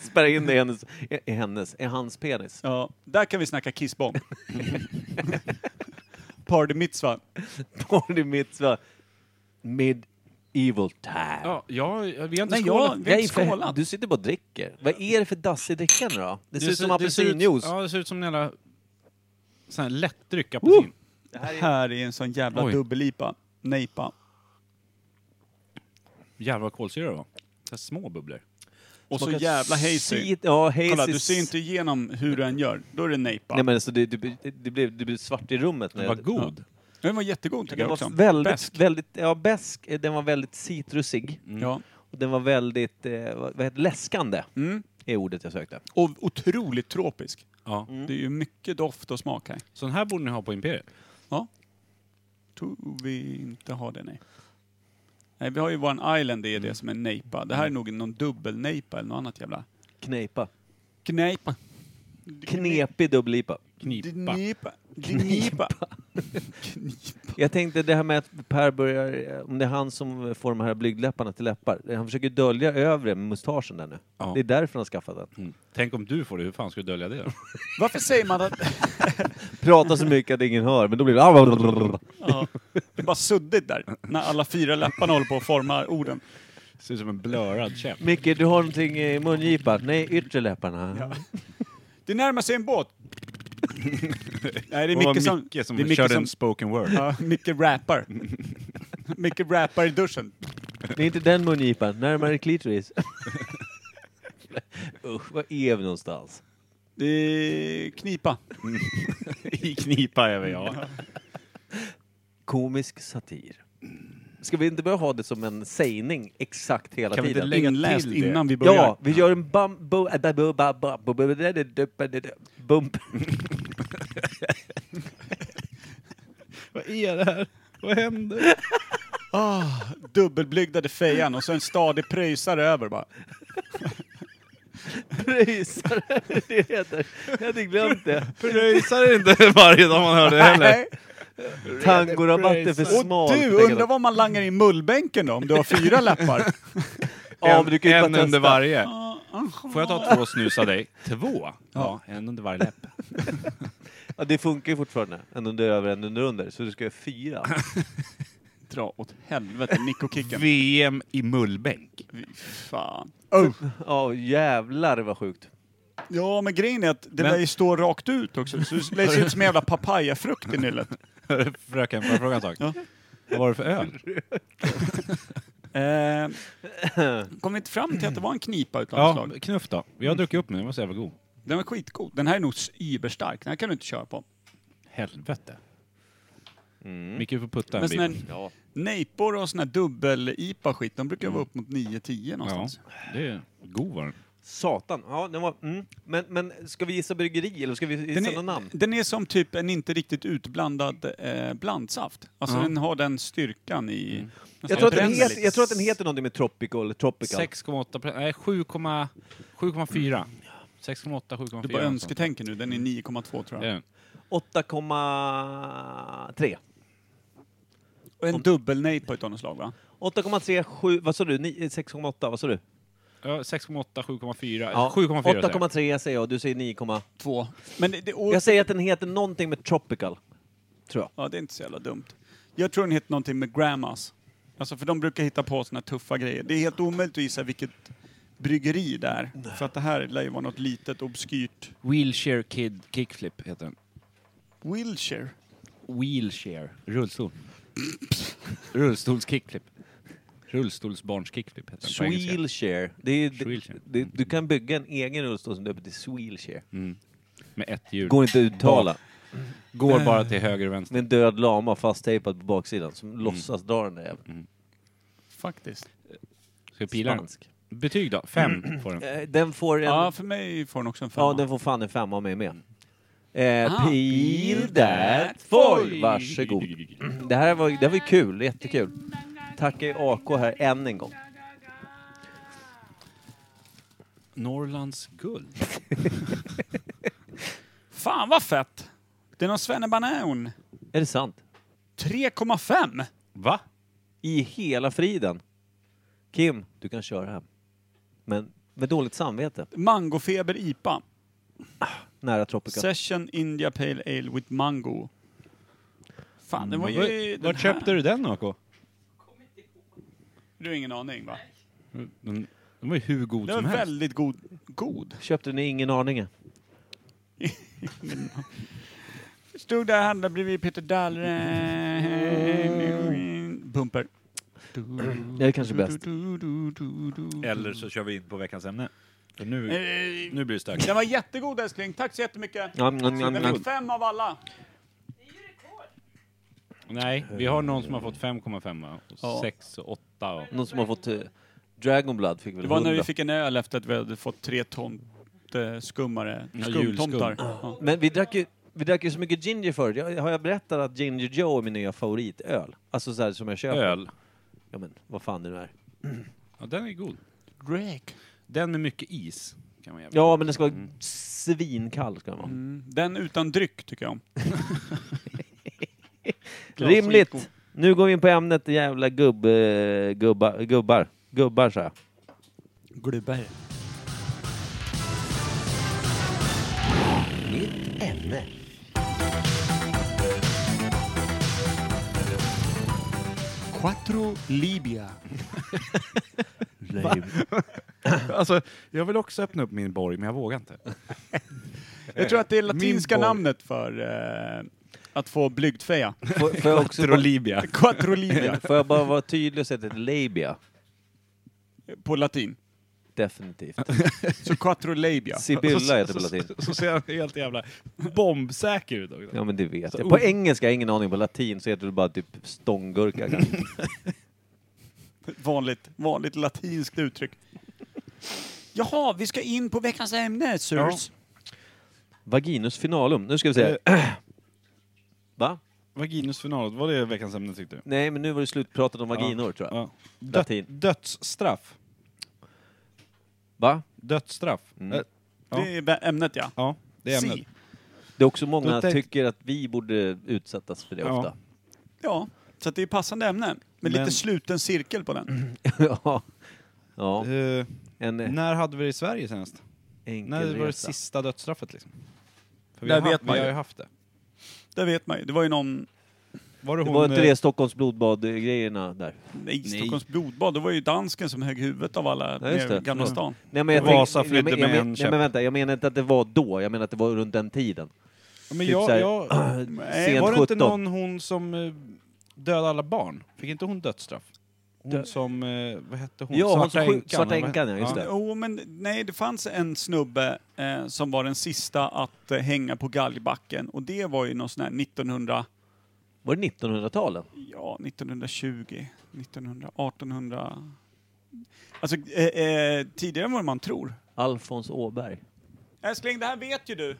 Speaker 2: Spärra in det i hennes, i- i hennes, i hans penis.
Speaker 3: Ja, där kan vi snacka kissbomb. Party mitzvah.
Speaker 2: Barney Mitzvah. Mid-evil time.
Speaker 4: Ja, jag, jag- vi har inte
Speaker 3: Nej,
Speaker 4: skålat.
Speaker 3: jag- vi har inte
Speaker 2: för-
Speaker 3: skålat.
Speaker 2: Du sitter bara och dricker. Vad är det för dassig drickande då? Det ser ut som
Speaker 4: ser- det ser ut-
Speaker 2: apelsinjuice.
Speaker 4: Ja, det ser ut som en jävla sån här lättdryck apelsin.
Speaker 3: Det här är en sån jävla
Speaker 4: Oj.
Speaker 3: dubbellipa. Nejpa.
Speaker 4: Jävlar vad kolsyra det var. Så här små bubblor.
Speaker 3: Och så
Speaker 2: Smakar
Speaker 3: jävla hazy.
Speaker 2: cit- Ja, hazy.
Speaker 3: Kolla, du ser inte igenom hur du än gör. Då är det nejpa.
Speaker 2: Nej men alltså det, det, det, blev, det blev svart i rummet. När
Speaker 4: Den var god.
Speaker 3: Den var jättegod tycker
Speaker 2: Den
Speaker 3: jag
Speaker 2: var
Speaker 3: också.
Speaker 2: väldigt,
Speaker 3: Bäsk.
Speaker 2: väldigt, ja bäsk. Eh, Den var väldigt citrusig.
Speaker 3: Ja.
Speaker 2: Och den var väldigt, eh, vad vad heter det? läskande.
Speaker 4: Mm.
Speaker 2: Är ordet jag sökte.
Speaker 3: Och otroligt tropisk.
Speaker 4: Ja.
Speaker 3: Det är ju mycket doft och smak här.
Speaker 4: Sån här borde ni ha på Imperiet.
Speaker 3: Ja. Tror vi inte har det, nej. Nej, vi har ju våran island, det är det som är nejpa. Det här är nog någon dubbelnejpa eller något annat jävla...
Speaker 2: Kneipa.
Speaker 3: Knejpa.
Speaker 2: Knepig dubbellipa.
Speaker 4: Knipa.
Speaker 3: Knipa. Knipa.
Speaker 2: Jag tänkte det här med att Per börjar, eh, om det är han som får de här blygdläpparna till läppar. Han försöker dölja övre med mustaschen där nu.
Speaker 4: Ja.
Speaker 2: Det är därför han skaffat den.
Speaker 4: Mm. Tänk om du får det, hur fan ska du dölja det då?
Speaker 3: Varför säger man att...
Speaker 2: Pratar så mycket att ingen hör, men då blir det...
Speaker 3: Ja, det är bara suddigt där, när alla fyra läpparna håller på att forma orden.
Speaker 4: Ser ut som en blörad käpp.
Speaker 2: Micke, du har någonting i mungipan? Nej, yttre läpparna.
Speaker 3: Det närmar sig en båt. Nej, det
Speaker 4: Det var
Speaker 3: är Micke som...
Speaker 4: Micke som
Speaker 3: det är Micke
Speaker 4: körde
Speaker 3: som-
Speaker 4: en spoken word.
Speaker 3: Ja, Micke rappar. Micke rappar i duschen.
Speaker 2: Det är inte den mungipan, närmare klitoris. Usch, var är vi någonstans?
Speaker 3: Det är knipa.
Speaker 4: I knipa även jag.
Speaker 2: Komisk satir. Ska vi inte börja ha det som en sägning exakt hela
Speaker 4: Kan vi inte
Speaker 2: tiden?
Speaker 4: lägga
Speaker 3: Inläst
Speaker 4: till det?
Speaker 3: innan vi börjar.
Speaker 2: Ja, vi gör en bam... bo- äh, ba- bo- ba- ba- bo- bo- bo- da- da- da- ba- da- da- Bump.
Speaker 4: Vad är det här? Vad händer?
Speaker 3: Dubbelblygdade fejan och så en stadig pröjsare över bara.
Speaker 2: Pröjsare, är det det heter. Jag hade glömt det.
Speaker 4: Pröjsar inte varje dag man hör det heller.
Speaker 3: Nej.
Speaker 2: Tangorabatten för
Speaker 4: Pröjsare.
Speaker 2: smal.
Speaker 3: Du, undrar vad man langar i mullbänken då, om du har fyra läppar?
Speaker 2: Ja, men du kan ju bara
Speaker 4: en under
Speaker 2: testa.
Speaker 4: varje. Får jag ta två snus av dig? Två? Ja, en under varje läpp.
Speaker 2: Ja, det funkar ju fortfarande. En under över, en under under. Så du ska göra fyra.
Speaker 3: Dra åt helvete, Nico Kicken.
Speaker 4: VM i mullbänk.
Speaker 3: Fy fan.
Speaker 2: Ja, jävlar vad sjukt.
Speaker 3: Ja, men grejen är att det
Speaker 4: Men-
Speaker 3: lär ju stå rakt ut också. Så det lär se ut som en jävla papayafrukt i nyllet.
Speaker 4: Fröken, får jag fråga en sak?
Speaker 3: Ja.
Speaker 4: Vad var det för öl?
Speaker 3: Eh, kom vi inte fram till att det var en knipa utav något
Speaker 4: Ja,
Speaker 3: slag?
Speaker 4: knuff då. Jag har druckit upp nu, den var så jävla god.
Speaker 3: Den var skitgod. Den här är nog yberstark. Den här kan du inte köra på.
Speaker 4: Helvete. Micke får putta en
Speaker 3: Men såna
Speaker 4: bit.
Speaker 3: här nejpor och sån här dubbel-IPA och skit, de brukar vara upp mot 9-10
Speaker 4: Ja,
Speaker 3: någonstans.
Speaker 4: det är god var den.
Speaker 2: Satan. Ja, den var... Mm. Men, men ska vi gissa bryggeri eller ska vi gissa
Speaker 3: Den
Speaker 2: något
Speaker 3: är,
Speaker 2: namn?
Speaker 3: den är som typ en inte riktigt utblandad eh, blandsaft. Alltså den har den styrkan i...
Speaker 2: Mm. Jag tror, att den
Speaker 3: bränner
Speaker 2: heter,
Speaker 3: lite.
Speaker 2: jag tror att den heter någonting med tropical eller tropical.
Speaker 4: 6,8 pre- Nej, 7,4. 7,4, 7,4.
Speaker 3: Du bara
Speaker 4: något
Speaker 3: önsketänker nu, den är
Speaker 2: Mm.
Speaker 3: 9,2
Speaker 4: sånt.
Speaker 3: tror
Speaker 4: Det är den.
Speaker 3: jag.
Speaker 2: 8,3.
Speaker 3: Och en dubbel-nejpa utav något slag va?
Speaker 2: 8,37, vad sa du? Ni- 6,8, vad sa du?
Speaker 4: Ja, 6,8, 7,4.
Speaker 2: Ja,
Speaker 4: 7,4 säger jag.
Speaker 2: 8,3 säger jag och du säger 9,
Speaker 3: Två. Men det, det, och,
Speaker 2: Jag säger att den heter någonting med tropical. Tror jag.
Speaker 3: Ja, det är inte så jävla dumt. Jag tror den heter någonting med grandmas. Alltså för de brukar hitta på såna här tuffa grejer. Det är helt omöjligt att gissa vilket bryggeri det är. För att det här lär ju vara något litet obskyrt.
Speaker 4: Wheelchair Kid Kickflip heter den.
Speaker 3: Wilshire.
Speaker 4: Wheelchair. Rullstol. Rullstols kickflip. Rullstolsbarns kickflip heter den på engelska.
Speaker 2: Swheelshare. Det är,
Speaker 4: Swheelshare.
Speaker 2: det, det, du kan bygga en egen rullstol som döper till Swheelshare.
Speaker 4: Med ett hjul.
Speaker 2: Går inte att uttala.
Speaker 4: Går bara till höger och vänster.
Speaker 2: Med en död lama fasttejpad på baksidan som låtsas dra den där jäveln.
Speaker 3: Faktiskt.
Speaker 4: Ska vi pila den?
Speaker 2: Spansk.
Speaker 4: Betyg då? Fem får den.
Speaker 2: Eh, Den får en...
Speaker 3: Ja, för mig får den också en femma.
Speaker 2: Ja, den får fan en femma av mig med. Eh,
Speaker 3: Ah.
Speaker 2: peel that foil! Varsågod. Det här var, det här var ju kul, jättekul. Tackar ju AK här än en gång.
Speaker 4: Norrlands guld.
Speaker 3: Fan vad fett! Det är någon svennebanan.
Speaker 2: Är det sant?
Speaker 3: 3,5!
Speaker 4: Va?
Speaker 2: I hela friden. Kim, du kan köra hem. Men med dåligt samvete.
Speaker 3: Mangofeber IPA.
Speaker 2: Nära Tropical.
Speaker 3: Session India Pale Ale with Mango. Fan, den var
Speaker 4: Var-
Speaker 3: ju... den
Speaker 4: Vart köpte du den AK?
Speaker 3: här- Du har ingen aning va?
Speaker 4: Den, den var ju hur god
Speaker 3: Den
Speaker 4: som
Speaker 3: var
Speaker 4: helst.
Speaker 3: väldigt god. God?
Speaker 2: Köpte ni ingen aning?
Speaker 3: Stod där och handlade bredvid Peter Dahlgren. Bumper.
Speaker 2: Det är kanske bäst.
Speaker 4: Eller så kör vi in på veckans ämne. För nu,
Speaker 3: Eh,
Speaker 4: nu blir det stökigt.
Speaker 3: Den var jättegod älskling, tack så jättemycket.
Speaker 2: Ja, mm, mm, mm,
Speaker 3: Den
Speaker 2: mm.
Speaker 3: fick fem av alla.
Speaker 4: Nej, vi har någon som har fått 5,5
Speaker 3: Ja.
Speaker 4: och 6 och 8. Och...
Speaker 2: Någon som har fått... eh, Dragon Blood fick väl
Speaker 3: Det var när vi
Speaker 2: 100.
Speaker 3: fick en öl efter att vi hade fått tre tomteskummare.
Speaker 4: Ja,
Speaker 3: Skumtomtar.
Speaker 4: julskum.
Speaker 3: Ja.
Speaker 2: Men vi drack ju... Vi drack ju så mycket ginger förut. Jag, har jag berättat att Ginger Joe är min nya favoritöl? Alltså så här som jag köper.
Speaker 4: Öl.
Speaker 2: Ja men vad fan det nu är.
Speaker 4: Ja, den är god.
Speaker 3: Greg.
Speaker 4: Den med mycket is. Kan man jävla-
Speaker 2: Ja men den ska vara svinkall ska den vara.
Speaker 3: Mm. Den utan dryck tycker jag om.
Speaker 2: Rimligt! Nu går vi in på ämnet jävla gubb, eh, gubba, gubbar. Gubbar så här.
Speaker 3: Glubber. Quattro Libya.
Speaker 4: Alltså, jag vill också öppna upp min borg, men jag vågar inte.
Speaker 3: Jag tror att det är latinska
Speaker 4: Min boy.
Speaker 3: namnet för eh, att få blygdfeja.
Speaker 2: Får, får, jag också bara,
Speaker 4: Libya.
Speaker 3: Quattro Libya
Speaker 2: får jag bara vara tydlig och säga att det är labia?
Speaker 3: på latin.
Speaker 2: Definitivt.
Speaker 3: Så quattro labia.
Speaker 2: Sibylla heter det på latin.
Speaker 4: Så, så ser han helt jävla bombsäker ut också.
Speaker 2: Ja men det vet jag. På engelska, jag har ingen aning, på latin så heter det bara typ stånggurka kanske.
Speaker 3: Vanligt, vanligt latinskt uttryck. Jaha, vi ska in på veckans ämne, sirs.
Speaker 2: Vaginus finalum. Nu ska vi se.
Speaker 4: Eh.
Speaker 2: Va?
Speaker 4: Vaginus finalet, var det veckans ämne tyckte du?
Speaker 2: Nej men nu var det slutpratat om vaginor tror jag.
Speaker 4: Ja.
Speaker 2: Latin.
Speaker 4: Dödsstraff.
Speaker 2: Va?
Speaker 4: Dödsstraff.
Speaker 2: Mm.
Speaker 4: Eh,
Speaker 3: Det är vä- ämnet ja.
Speaker 4: Ja, det är
Speaker 3: Si.
Speaker 4: ämnet.
Speaker 2: Det är också många
Speaker 4: Då tänk-
Speaker 2: tycker att vi borde utsättas för det
Speaker 4: Ja.
Speaker 2: ofta.
Speaker 3: Ja, så att det är passande ämne. Men, lite
Speaker 4: Men-
Speaker 3: sluten cirkel på den.
Speaker 2: ja. ja.
Speaker 4: Eh,
Speaker 2: En eh,
Speaker 4: när hade vi det i Sverige senast?
Speaker 2: enkel
Speaker 4: När var det
Speaker 2: resa.
Speaker 4: sista dödsstraffet liksom? För vi,
Speaker 3: Där
Speaker 4: har, haft,
Speaker 3: vet man
Speaker 4: vi har
Speaker 3: ju.
Speaker 4: ju haft det.
Speaker 3: Det vet man ju. Det var ju någon...
Speaker 4: Var det,
Speaker 2: Det
Speaker 4: hon,
Speaker 2: var inte
Speaker 4: eh,
Speaker 2: det Stockholms blodbad-grejerna där?
Speaker 3: Nej, Stockholms blodbad. Det var ju dansken som högg huvudet av alla
Speaker 2: Ja, just
Speaker 3: nere i
Speaker 2: det.
Speaker 3: Gamla
Speaker 2: Ja.
Speaker 3: stan.
Speaker 2: Nej, men jag
Speaker 4: Vasa
Speaker 2: tänker- nej, men-
Speaker 4: flydde
Speaker 2: jag
Speaker 4: med
Speaker 2: men-
Speaker 4: en
Speaker 2: Nej
Speaker 4: käpp.
Speaker 2: men vänta, jag menar inte att det var då, jag menar att det var runt den tiden.
Speaker 4: men
Speaker 2: typ
Speaker 4: jag,
Speaker 2: så här-
Speaker 4: jag,
Speaker 3: Nej,
Speaker 2: Sent
Speaker 4: Var det inte
Speaker 2: 17.
Speaker 4: någon hon som eh, dödade alla barn? Fick inte hon dödsstraff? Hon som, eh, vad hette hon?
Speaker 2: Ja, hon som sjuk-
Speaker 4: änkan,
Speaker 2: Svarta
Speaker 4: eller vad
Speaker 2: änkan,
Speaker 4: hette-
Speaker 2: ja, just det.
Speaker 3: Jo, men nej, det fanns en snubbe eh, som var den sista att eh, hänga på galgbacken. Och det var ju någon sån här 1900...
Speaker 2: Var det 1900-talen?
Speaker 3: Ja, 1920, 1900, 1800... Alltså, eh, eh, tidigare än vad man tror.
Speaker 2: Alfons Åberg.
Speaker 3: Älskling, det här vet ju du. Nej.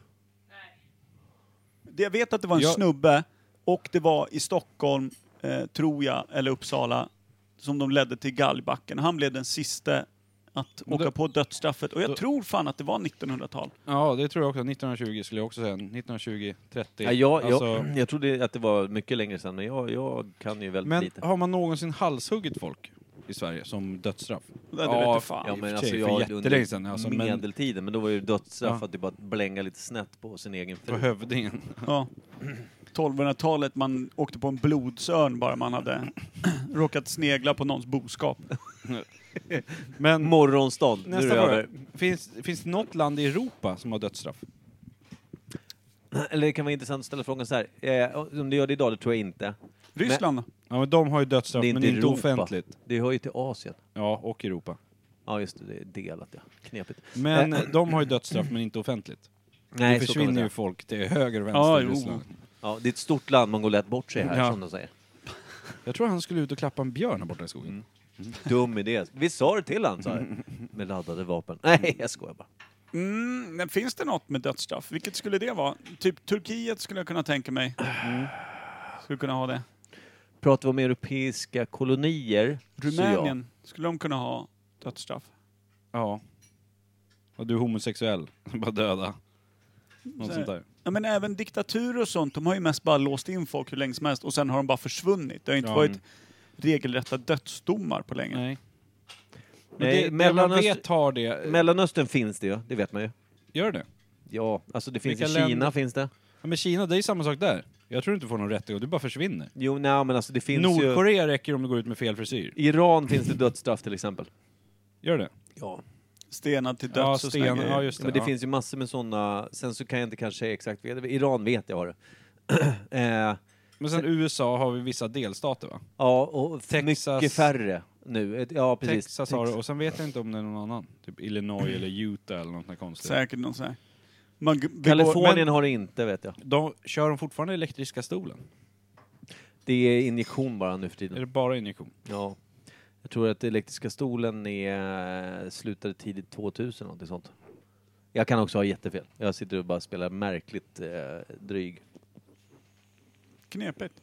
Speaker 3: Det jag vet att det var en
Speaker 4: Jag-
Speaker 3: snubbe och det var i Stockholm, eh, tror jag, eller Uppsala, som de ledde till galgbacken. Han blev den sista att
Speaker 4: Men
Speaker 3: åka
Speaker 4: då-
Speaker 3: på dödsstraffet. Och jag
Speaker 4: då-
Speaker 3: tror fan att det var 1900-tal.
Speaker 4: Ja, det tror jag också. 1920 skulle jag också säga. 1920, 30.
Speaker 2: Ja, jag, jag,
Speaker 4: Alltså,
Speaker 2: jag trodde att det var mycket längre sedan, men jag, jag kan ju väldigt
Speaker 4: men ah,
Speaker 2: lite.
Speaker 4: har man någonsin halshuggit folk i Sverige som dödsstraff?
Speaker 3: Det ja, vet fan.
Speaker 2: Ja,
Speaker 4: i och
Speaker 2: men
Speaker 4: för
Speaker 2: alltså
Speaker 4: sig,
Speaker 2: jag
Speaker 4: för
Speaker 2: under
Speaker 4: jättelänge sedan, alltså, men-
Speaker 2: medeltiden, men då var ju dödsstraff
Speaker 4: Ja.
Speaker 2: att det bara blänga lite snett på sin egen
Speaker 4: På
Speaker 2: fru.
Speaker 4: hövdingen.
Speaker 3: Ja. 1200-talet, man åkte på en blodsörn bara man hade råkat snegla på någons boskap.
Speaker 4: Men
Speaker 2: Morgonstånd, nu är
Speaker 4: nästa
Speaker 2: det
Speaker 4: fråga.
Speaker 2: över.
Speaker 4: Finns, finns det något land i Europa som har dödsstraff?
Speaker 2: Eller det kan vara intressant att ställa frågan så här. Eh, om du gör det idag, det tror jag inte.
Speaker 3: Ryssland
Speaker 4: Ja, men de har ju
Speaker 2: Det
Speaker 4: dödsstraff,
Speaker 2: är
Speaker 4: men
Speaker 2: inte
Speaker 4: inte
Speaker 2: Europa.
Speaker 4: offentligt.
Speaker 2: Det hör ju till Asien.
Speaker 4: Ja, och Europa.
Speaker 2: Ja just det, det är delat ja. Knepigt.
Speaker 4: Men
Speaker 2: Eh,
Speaker 4: eh, de har ju dödsstraff, men inte offentligt.
Speaker 2: nej,
Speaker 4: det
Speaker 2: så kan man
Speaker 4: försvinner ju
Speaker 2: säga.
Speaker 4: folk till höger och
Speaker 3: Ja,
Speaker 4: vänster i
Speaker 3: jo.
Speaker 4: Ryssland.
Speaker 2: Ja, det är ett stort land, man går lätt bort sig här
Speaker 4: Ja.
Speaker 2: som de säger.
Speaker 4: Jag tror han skulle ut och klappa en björn här borta i skogen.
Speaker 2: Mm. Dum idé. Vi sa det till han så här. Med laddade vapen. Nej, jag skojar bara.
Speaker 3: Mm, men finns det något med dödsstraff? Vilket skulle det vara? Typ Turkiet skulle jag kunna tänka mig.
Speaker 4: Mm.
Speaker 3: Skulle kunna ha det.
Speaker 2: Pratar vi om europeiska kolonier
Speaker 3: Rumänien, skulle de kunna ha dödsstraff?
Speaker 4: Ja. Och du är homosexuell. Bara döda. Något
Speaker 3: Så-
Speaker 4: sånt där.
Speaker 3: Ja, men även diktaturer och sånt, de har ju mest bara låst in folk hur länge som helst och sen har de bara försvunnit. Det har inte
Speaker 4: Ja.
Speaker 3: varit regelrätta dödsdomar på länge.
Speaker 4: Nej.
Speaker 2: Så ja.
Speaker 4: Men det,
Speaker 2: Nej,
Speaker 4: det man
Speaker 2: Mellanöstern,
Speaker 4: vet har det.
Speaker 2: Mellanöstern finns det ju, det vet man ju.
Speaker 4: Gör det?
Speaker 2: Ja, alltså det finns
Speaker 4: Vilka
Speaker 2: i Kina
Speaker 4: länder?
Speaker 2: finns det.
Speaker 4: Ja, men Kina, det är ju samma sak där. Jag tror inte du får någon rättegång, du bara försvinner.
Speaker 2: Jo, nej, men alltså det finns ju...
Speaker 4: Nordkorea räcker om du går ut med fel frisyr.
Speaker 2: I Iran finns det dödsstraff till exempel.
Speaker 4: Gör det?
Speaker 2: Ja.
Speaker 3: Stenad till
Speaker 4: Ja,
Speaker 3: döds och såna
Speaker 4: sten-
Speaker 3: grejer.
Speaker 4: ja, just
Speaker 2: men det
Speaker 4: ja.
Speaker 2: finns ju massor med sådana. Sen så kan jag inte kanske säga exakt. Iran vet jag har det. eh,
Speaker 4: Men sen USA har vi vissa delstater va?
Speaker 2: ja, och
Speaker 4: Texas-
Speaker 2: mycket färre nu. Ett- Ja, precis.
Speaker 4: Texas har det, och sen vet jag inte om det är någon annan. Typ Illinois eller Utah eller något sånt där konstigt.
Speaker 3: Säkert någon sån här. Man g- begår-
Speaker 2: Kalifornien
Speaker 3: men-
Speaker 2: har det inte, vet jag.
Speaker 4: De, kör de fortfarande elektriska stolen?
Speaker 2: Det är injektion bara nu för
Speaker 4: Är
Speaker 2: tiden.
Speaker 4: det bara injektion?
Speaker 2: Ja. Jag tror att elektriska stolen är, eh, slutade tidigt 2000, någonting sånt. Jag kan också ha jättefel. Jag sitter och bara spelar märkligt eh, dryg.
Speaker 3: Knepigt.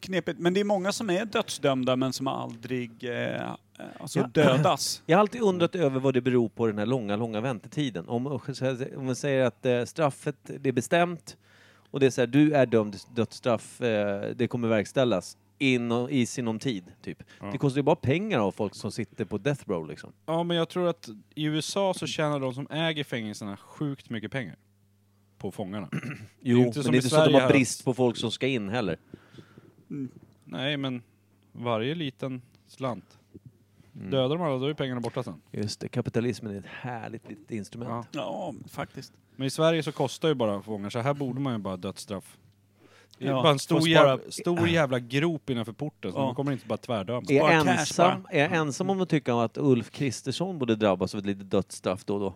Speaker 3: Knepigt. Men det är många som är dödsdömda men som aldrig eh, alltså
Speaker 2: Ja.
Speaker 3: dödas.
Speaker 2: Jag har alltid undrat över vad det beror på den här långa, långa väntetiden. Om, om man säger att eh, straffet, det är bestämt och det är så här, du är dömd till dödsstraff, eh, det kommer verkställas inom, i sinom tid, typ. Det kostar ju bara pengar av folk som sitter på death row liksom.
Speaker 4: Ja, men jag tror att i USA så tjänar de som äger fängelserna sjukt mycket pengar. På fångarna.
Speaker 2: Jo,
Speaker 4: inte
Speaker 2: men det
Speaker 4: som
Speaker 2: är
Speaker 4: i
Speaker 2: inte så att de
Speaker 4: Sverige här.
Speaker 2: har brist på folk som ska in heller.
Speaker 4: Nej, men varje liten slant. Dödar de alla, då är pengarna borta sen.
Speaker 2: Just det, kapitalismen är ett härligt litet instrument.
Speaker 4: Ja.
Speaker 3: Ja, faktiskt.
Speaker 4: Men i Sverige så kostar ju bara fångar, så här borde man ju bara dödsstraff. Det är
Speaker 3: Ja,
Speaker 4: bara en stor,
Speaker 3: får spara-
Speaker 4: jävla, stor jävla grop innanför porten, så
Speaker 3: Ja.
Speaker 4: man kommer inte bara tvärdöma.
Speaker 2: Är, jag
Speaker 3: Spara cash
Speaker 2: ensam,
Speaker 3: bara.
Speaker 2: är jag ensam om att tycka att Ulf Kristersson borde drabbas av ett litet dödsstraff då och då?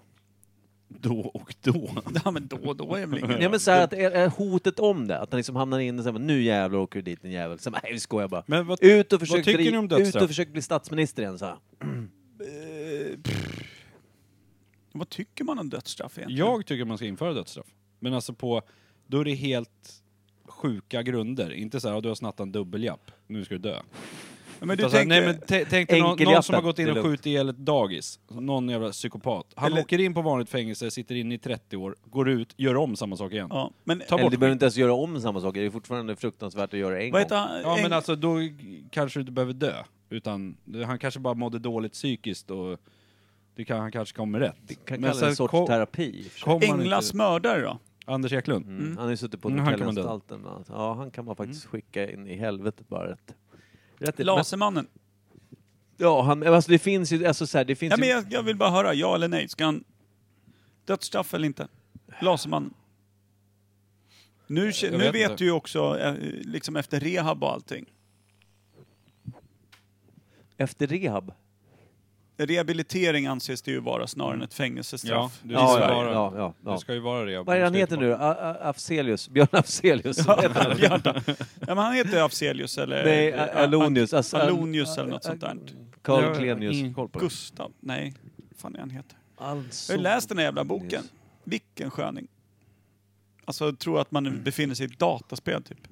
Speaker 4: Då och då.
Speaker 3: Ja, men då och då är det väl
Speaker 2: Nej
Speaker 3: inget.
Speaker 2: men så här att är- är hotet om det, att han liksom hamnar in och säger nu jävlar åker du dit din jävel. Så, nej vi skojar bara.
Speaker 4: Men vad,
Speaker 2: Ut och försök,
Speaker 4: tycker
Speaker 2: bli,
Speaker 4: ni om
Speaker 2: ut
Speaker 4: dödsstraff?
Speaker 2: och försök bli statsminister igen så här.
Speaker 3: Vad tycker man om dödsstraff egentligen?
Speaker 4: jag tycker man ska införa dödsstraff. Men alltså på, då är det helt sjuka grunder. Inte så här, "Ja, du har snattat en dubbeljapp, nu ska du dö.
Speaker 3: Ja, men du
Speaker 4: Utan så här,
Speaker 3: tänker,
Speaker 4: Nej men tä- tänk dig någon, någon
Speaker 2: Enkelhjärtat,
Speaker 4: som har gått
Speaker 2: det
Speaker 4: in
Speaker 2: är
Speaker 4: och
Speaker 2: lugnt.
Speaker 4: skjutit ihjäl ett dagis. Någon jävla psykopat. Han
Speaker 3: Eller-
Speaker 4: åker in på vanligt fängelse, sitter inne i 30 år, går ut, gör om samma sak igen.
Speaker 3: ja, men
Speaker 4: Ta
Speaker 2: Eller
Speaker 4: bort
Speaker 2: du behöver inte ens göra om samma saker, det är fortfarande fruktansvärt att göra det en
Speaker 3: vad
Speaker 2: gång.
Speaker 3: heter han?
Speaker 4: Ja men
Speaker 3: Eng-
Speaker 4: alltså då g- kanske du inte behöver dö. Utan det- han kanske bara mådde dåligt psykiskt och det kan, han kanske kommer rätt. Det
Speaker 2: Kan kalla det en sorts terapi. i och för sig.
Speaker 3: Englas mördare då?
Speaker 4: Anders Eklund.
Speaker 2: Mm. Han har ju suttit på
Speaker 4: Mm, han kan Mm. man döda.
Speaker 2: hotellanstalten bland annat. Ja, han kan man faktiskt skicka in i helvetet bara rätt. rätt i- men,
Speaker 3: Lasermannen?
Speaker 2: ja, han, men alltså det finns ju, alltså så här, det finns
Speaker 3: Ja, men
Speaker 2: ju...
Speaker 3: jag, jag vill bara höra, ja eller nej. Ska han dödsstraff eller inte? Lasermannen? Nu, ke-
Speaker 4: Jag
Speaker 3: nu
Speaker 4: vet
Speaker 3: vet
Speaker 4: inte.
Speaker 3: du ju också, eh, liksom efter rehab och allting.
Speaker 2: Efter rehab.
Speaker 3: Rehabilitering anses det ju vara snarare än ett
Speaker 4: Ja,
Speaker 3: fängelsestraff.
Speaker 4: du
Speaker 2: Ja,
Speaker 4: ska
Speaker 2: ja,
Speaker 4: vara,
Speaker 2: ja, ja, ja.
Speaker 4: Du ska ju vara det.
Speaker 2: Vad är han heter nu då? A- A- Afzelius? Björn Afzelius? Vad heter han?
Speaker 3: Björta. ja, men han heter Afzelius eller...
Speaker 2: Nej,
Speaker 3: eh,
Speaker 2: A- Alonius. Alltså,
Speaker 3: Al- Alonius eller något sånt där.
Speaker 2: Carl
Speaker 4: Jag-
Speaker 2: Klenius.
Speaker 4: ingen
Speaker 2: Koll på det.
Speaker 3: Gustav? Nej, vad fan är han heter?
Speaker 2: Alltså,
Speaker 3: Jag har ju läst den här jävla boken. Vilken sköning. Alltså, jag tror att man befinner sig i ett dataspel typ.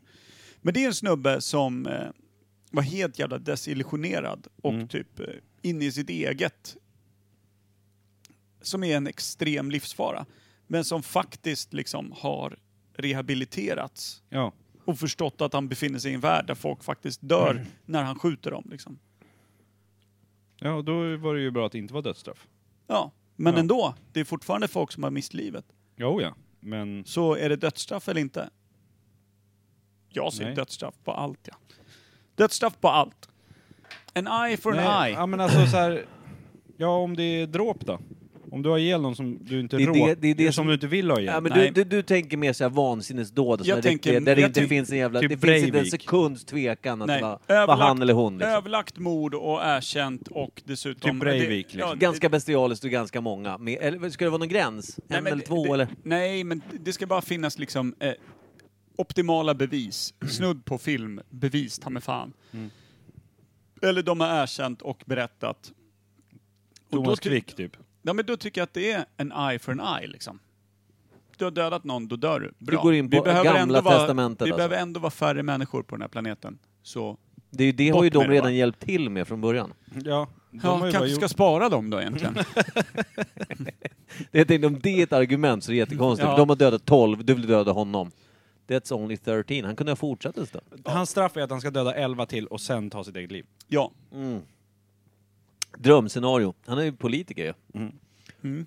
Speaker 3: Men det är en snubbe som eh, var helt jävla desillusionerad och typ eh, inne i sitt eget. Som är en extrem livsfara. Men som faktiskt liksom har rehabiliterats
Speaker 4: Ja.
Speaker 3: och förstått att han befinner sig i en värld där folk faktiskt dör när han skjuter dem. Liksom.
Speaker 4: ja, och då var det ju bra att det inte var dödsstraff.
Speaker 3: Ja, men
Speaker 4: Ja.
Speaker 3: ändå. Det är fortfarande folk som har mist livet.
Speaker 4: Jo ja, men
Speaker 3: Så är det dödsstraff eller inte? Jag ser
Speaker 4: Nej.
Speaker 3: dödsstraff på allt, ja. Dödsstraff på allt. En eye for an
Speaker 4: Nej,
Speaker 3: eye.
Speaker 4: Ja men alltså så här, ja om det är dråp då? Om du har ihjäl någon som du inte
Speaker 2: Det är
Speaker 4: rå,
Speaker 2: det- det är det
Speaker 4: som,
Speaker 2: som-
Speaker 4: du inte vill ha ihjäl.
Speaker 2: Ja, men
Speaker 3: Nej.
Speaker 2: du, du, du tänker mer såhär vansinnesdåd, och
Speaker 3: Jag
Speaker 2: såna
Speaker 3: tänker-
Speaker 2: riktiga, där det
Speaker 3: jag
Speaker 2: inte
Speaker 3: tänk-
Speaker 2: finns en jävla...
Speaker 4: typ
Speaker 2: det finns inte en
Speaker 4: Breivik.
Speaker 2: sekunds tvekan att
Speaker 3: Nej,
Speaker 2: det var, var
Speaker 3: överlagt-
Speaker 2: han eller hon. Liksom.
Speaker 3: Överlagt mord och erkänt och dessutom...
Speaker 4: Typ Breivik,
Speaker 3: det- ja,
Speaker 4: liksom.
Speaker 2: Ganska bestialiskt och ganska många. Med, eller, ska det vara någon gräns?
Speaker 3: Nej,
Speaker 2: en
Speaker 3: men
Speaker 2: eller
Speaker 3: det-
Speaker 2: två
Speaker 3: det,
Speaker 2: eller?
Speaker 3: Nej, men det ska bara finnas liksom eh, optimala bevis. Snudd på film, bevis ta mig fan.
Speaker 2: Mm.
Speaker 3: Eller de har erkänt och berättat. Och då,
Speaker 4: Thomas
Speaker 3: ty-
Speaker 4: Quick typ.
Speaker 3: ja, men då tycker jag att det är en eye for an eye liksom. Du har dödat någon, då dör du. Bra.
Speaker 2: går in på
Speaker 3: behöver
Speaker 2: Gamla
Speaker 3: ändå vara,
Speaker 2: testamentet,
Speaker 3: Vi
Speaker 2: alltså.
Speaker 3: behöver ändå vara färre människor på den här planeten. Så
Speaker 2: Det, är ju- det har ju
Speaker 3: Bort med
Speaker 2: de
Speaker 3: det,
Speaker 2: redan
Speaker 3: va?
Speaker 2: hjälpt till med från början.
Speaker 4: Ja, de
Speaker 3: ja,
Speaker 4: har ju bara
Speaker 3: kanske
Speaker 4: gjort...
Speaker 3: ska spara dem då egentligen.
Speaker 2: Det, jag tänkte, om det är ett argument så är det jättekonstigt.
Speaker 3: Ja.
Speaker 2: för De har dödat 12, du vill döda honom. That's only 13. Han kunde ha fortsatt istället.
Speaker 4: Hans straff är att han ska döda 11 till och sen ta sitt eget liv.
Speaker 3: ja,
Speaker 2: Drömscenario. Han är ju politiker ju.
Speaker 3: Nej,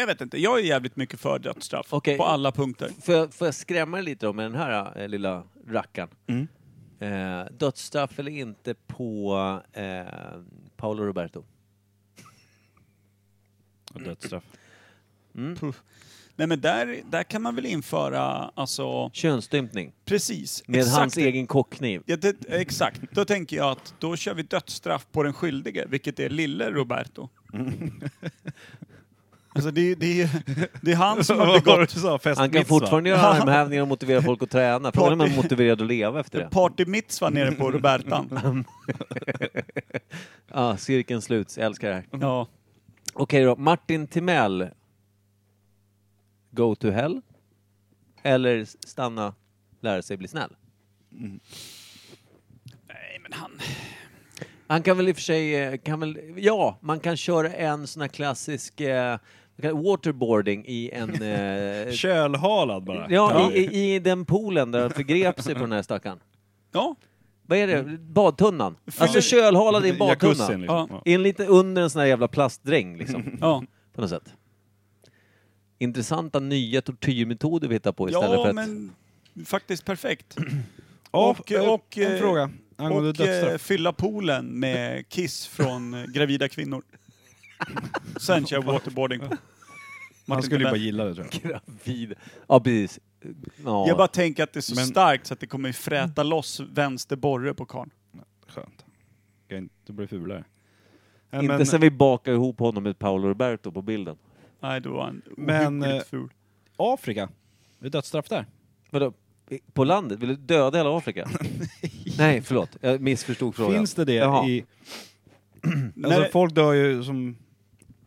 Speaker 3: jag vet inte. Jag är jävligt mycket för dödsstraff.
Speaker 2: Okej.
Speaker 3: På alla punkter.
Speaker 2: Får jag, får jag skrämma dig lite då med den här eh, lilla rackaren?
Speaker 3: Mm.
Speaker 2: Eh, dödsstraff eller inte på eh, Paolo Roberto?
Speaker 4: Och dödsstraff.
Speaker 3: Nej, men där, där kan man väl införa, alltså...
Speaker 2: Könsstympning
Speaker 3: Precis.
Speaker 2: med
Speaker 3: exakt
Speaker 2: hans
Speaker 3: det.
Speaker 2: egen kockkniv.
Speaker 3: Ja, det, exakt. Då tänker jag att då kör vi dödsstraff på den skyldige, vilket är lille Roberto. Alltså det, är- det, är- det är han som har
Speaker 4: Vad var det
Speaker 3: begått
Speaker 4: du sa? Fest
Speaker 2: Han kan fortfarande göra armhävningar och motivera folk att träna. Frågan är om han är motiverad att leva efter det.
Speaker 3: party mitzva nere på Robertan.
Speaker 2: Ah, cirkeln sluts, jag älskar det här.
Speaker 3: Ja.
Speaker 2: Okej då, Martin Timell. Go to hell? Eller stanna, lära sig bli snäll?
Speaker 3: Nej, men han...
Speaker 2: Han kan väl i och för sig, eh, kan väl, ja, man kan köra en sån här klassisk eh, vad kallar- waterboarding i en... Eh,
Speaker 4: Kölhalad bara.
Speaker 2: ja, i, i, i den poolen där han förgrep sig på den här stackaren.
Speaker 3: Ja,
Speaker 2: Vad är det? Badtunnan? Alltså
Speaker 3: Fyller-
Speaker 2: kölhalad i en
Speaker 4: Jacuzzin
Speaker 2: badtunna.
Speaker 4: liksom.
Speaker 3: Ja.
Speaker 2: I en lite under en sån här jävla plastdräng liksom,
Speaker 3: ja.
Speaker 2: på något sätt. Intressanta nya tortyrmetoder vi hittar på istället för
Speaker 3: ja
Speaker 2: att...
Speaker 3: men faktiskt perfekt.
Speaker 4: Ja,
Speaker 3: Och-
Speaker 4: eh,
Speaker 3: och, eh,
Speaker 4: en fråga angående
Speaker 3: Och eh,
Speaker 4: dödsstraff.
Speaker 3: fylla poolen med kiss från eh, gravida kvinnor. Sen kör waterboarding.
Speaker 4: Han skulle ju
Speaker 3: Timell.
Speaker 4: bara gilla det tror jag.
Speaker 2: Gravid. Ja, precis. Ja.
Speaker 3: Jag bara tänker att det är så
Speaker 4: Men-
Speaker 3: starkt så att det kommer ju fräta loss vänster borre på karln.
Speaker 4: Skönt. Kan inte- Det blir fulare. Nej,
Speaker 2: Inte sen vi bakar ihop honom med Paolo Roberto på bilden.
Speaker 3: Nej, då var han
Speaker 4: Men, eh,
Speaker 3: ohyggligt ful.
Speaker 4: Afrika. Det är dödsstraff där.
Speaker 2: Vadå? I- På landet? Vill du döda hela Afrika? Nej, förlåt. Jag missförstod frågan.
Speaker 4: Finns det det
Speaker 2: Jaha.
Speaker 4: i... Alltså
Speaker 3: Nej.
Speaker 4: folk dör ju som,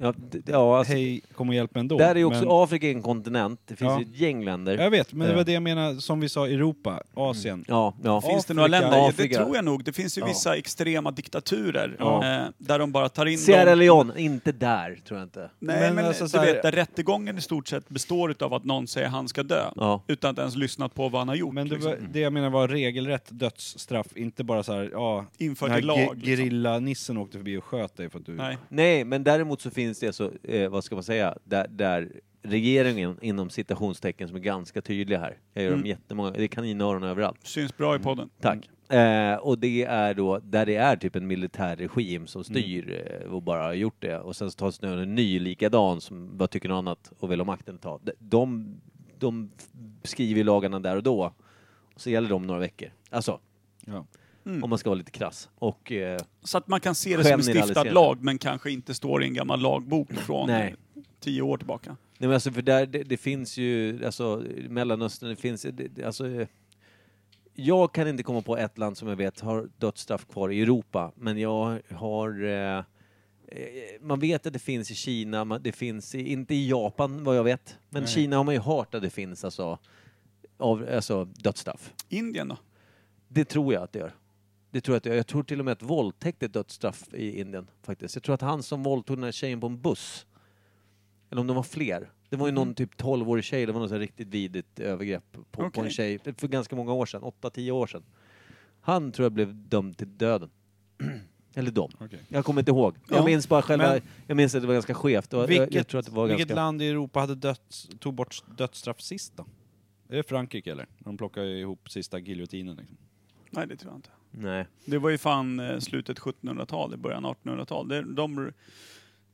Speaker 2: Ja, d- ja alltså,
Speaker 4: hej, kom och hjälp mig ändå.
Speaker 2: där är ju också
Speaker 4: men,
Speaker 2: Afrika en kontinent. Det finns
Speaker 4: Ja.
Speaker 2: ju ett gäng länder.
Speaker 4: Jag vet, men det
Speaker 2: Eh,
Speaker 4: var det jag menade, som vi sa, Europa, Asien.
Speaker 2: Mm. Ja, ja.
Speaker 3: Finns det några
Speaker 4: Afrika-
Speaker 3: länder?
Speaker 2: Afrika.
Speaker 3: Det tror jag nog. Det finns ju vissa extrema diktaturer
Speaker 4: Ja.
Speaker 3: eh, där de bara tar in
Speaker 2: Sierra
Speaker 3: dem.
Speaker 2: Leone, inte där, tror jag inte.
Speaker 3: Nej,
Speaker 4: Men
Speaker 3: men,
Speaker 4: alltså
Speaker 3: du
Speaker 4: så här-
Speaker 3: vet, där rättegången i stort sett består av att någon säger han ska dö.
Speaker 2: Ja.
Speaker 3: Utan att ens lyssnat på vad han har gjort.
Speaker 4: Men det,
Speaker 3: liksom.
Speaker 4: var, det jag menar var regelrätt dödsstraff, inte bara så här, ja,
Speaker 3: Infört
Speaker 4: den här
Speaker 3: i lag,
Speaker 4: ge-
Speaker 3: liksom.
Speaker 4: gerillanissen åkte förbi och sköt dig för att du...
Speaker 3: Nej.
Speaker 2: Nej, men däremot så finns det så, eh, vad ska man säga, där, där regeringen inom citationstecken som är ganska tydliga här. Jag gör dem jättemånga, det är kaninöron överallt.
Speaker 3: Syns bra i podden.
Speaker 2: Mm.
Speaker 3: Mm.
Speaker 2: Tack. Eh, och det är då där det är typ en militärregim som styr eh, och bara har gjort det. Och sen så tas det en ny likadan som bara tycker något annat och vill ha makten ett tag. De, de, de skriver ju lagarna där och då. Och så gäller de några veckor. Alltså,
Speaker 4: Ja.
Speaker 2: om man ska vara lite krass. Och eh,
Speaker 3: Så att man kan se det som en stiftad
Speaker 2: Generaliserande.
Speaker 3: lag, men kanske inte står i en gammal lagbok från
Speaker 2: Nej.
Speaker 3: tio år tillbaka.
Speaker 2: Nej men alltså för där, det, det finns ju, alltså Mellanöstern, det finns, det- det, alltså eh, jag kan inte komma på ett land som jag vet har dödsstraff kvar i Europa, men jag har eh, eh, man vet att det finns i Kina, man- det finns i, inte i Japan vad jag vet, men Kina har man ju hört att det finns alltså, av, alltså dödsstraff.
Speaker 3: Indien då?
Speaker 2: Det tror jag att det gör. Det tror jag, att det gör. jag tror till och med att våldtäkt är dödsstraff i Indien faktiskt. Jag tror att han som våldtog den här tjejen på en buss, eller om de var fler, det var ju
Speaker 4: Mm.
Speaker 2: någon typ 12-årig tjej, det var något så här riktigt vidrigt övergrepp på, på en
Speaker 3: Okej.
Speaker 2: tjej för ganska många år sedan, 8-10 år sedan. Han tror jag blev dömd till döden. eller dem.
Speaker 4: Okej.
Speaker 2: Jag kommer inte ihåg. Jag
Speaker 3: Ja,
Speaker 2: minns bara själva,
Speaker 4: men-
Speaker 2: jag minns att det var ganska skevt. Och jag-
Speaker 4: Vilket,
Speaker 2: jag tror att det var
Speaker 4: vilket
Speaker 2: ganska...
Speaker 4: land i Europa hade döds, tog bort dödsstraff sist då? Är det Frankrike eller? De plockade ihop sista giljotinen liksom.
Speaker 3: Nej, det tror jag inte.
Speaker 2: Nej.
Speaker 3: Det var ju fan eh, slutet 1700-tal, i början 1800-tal. Det, de,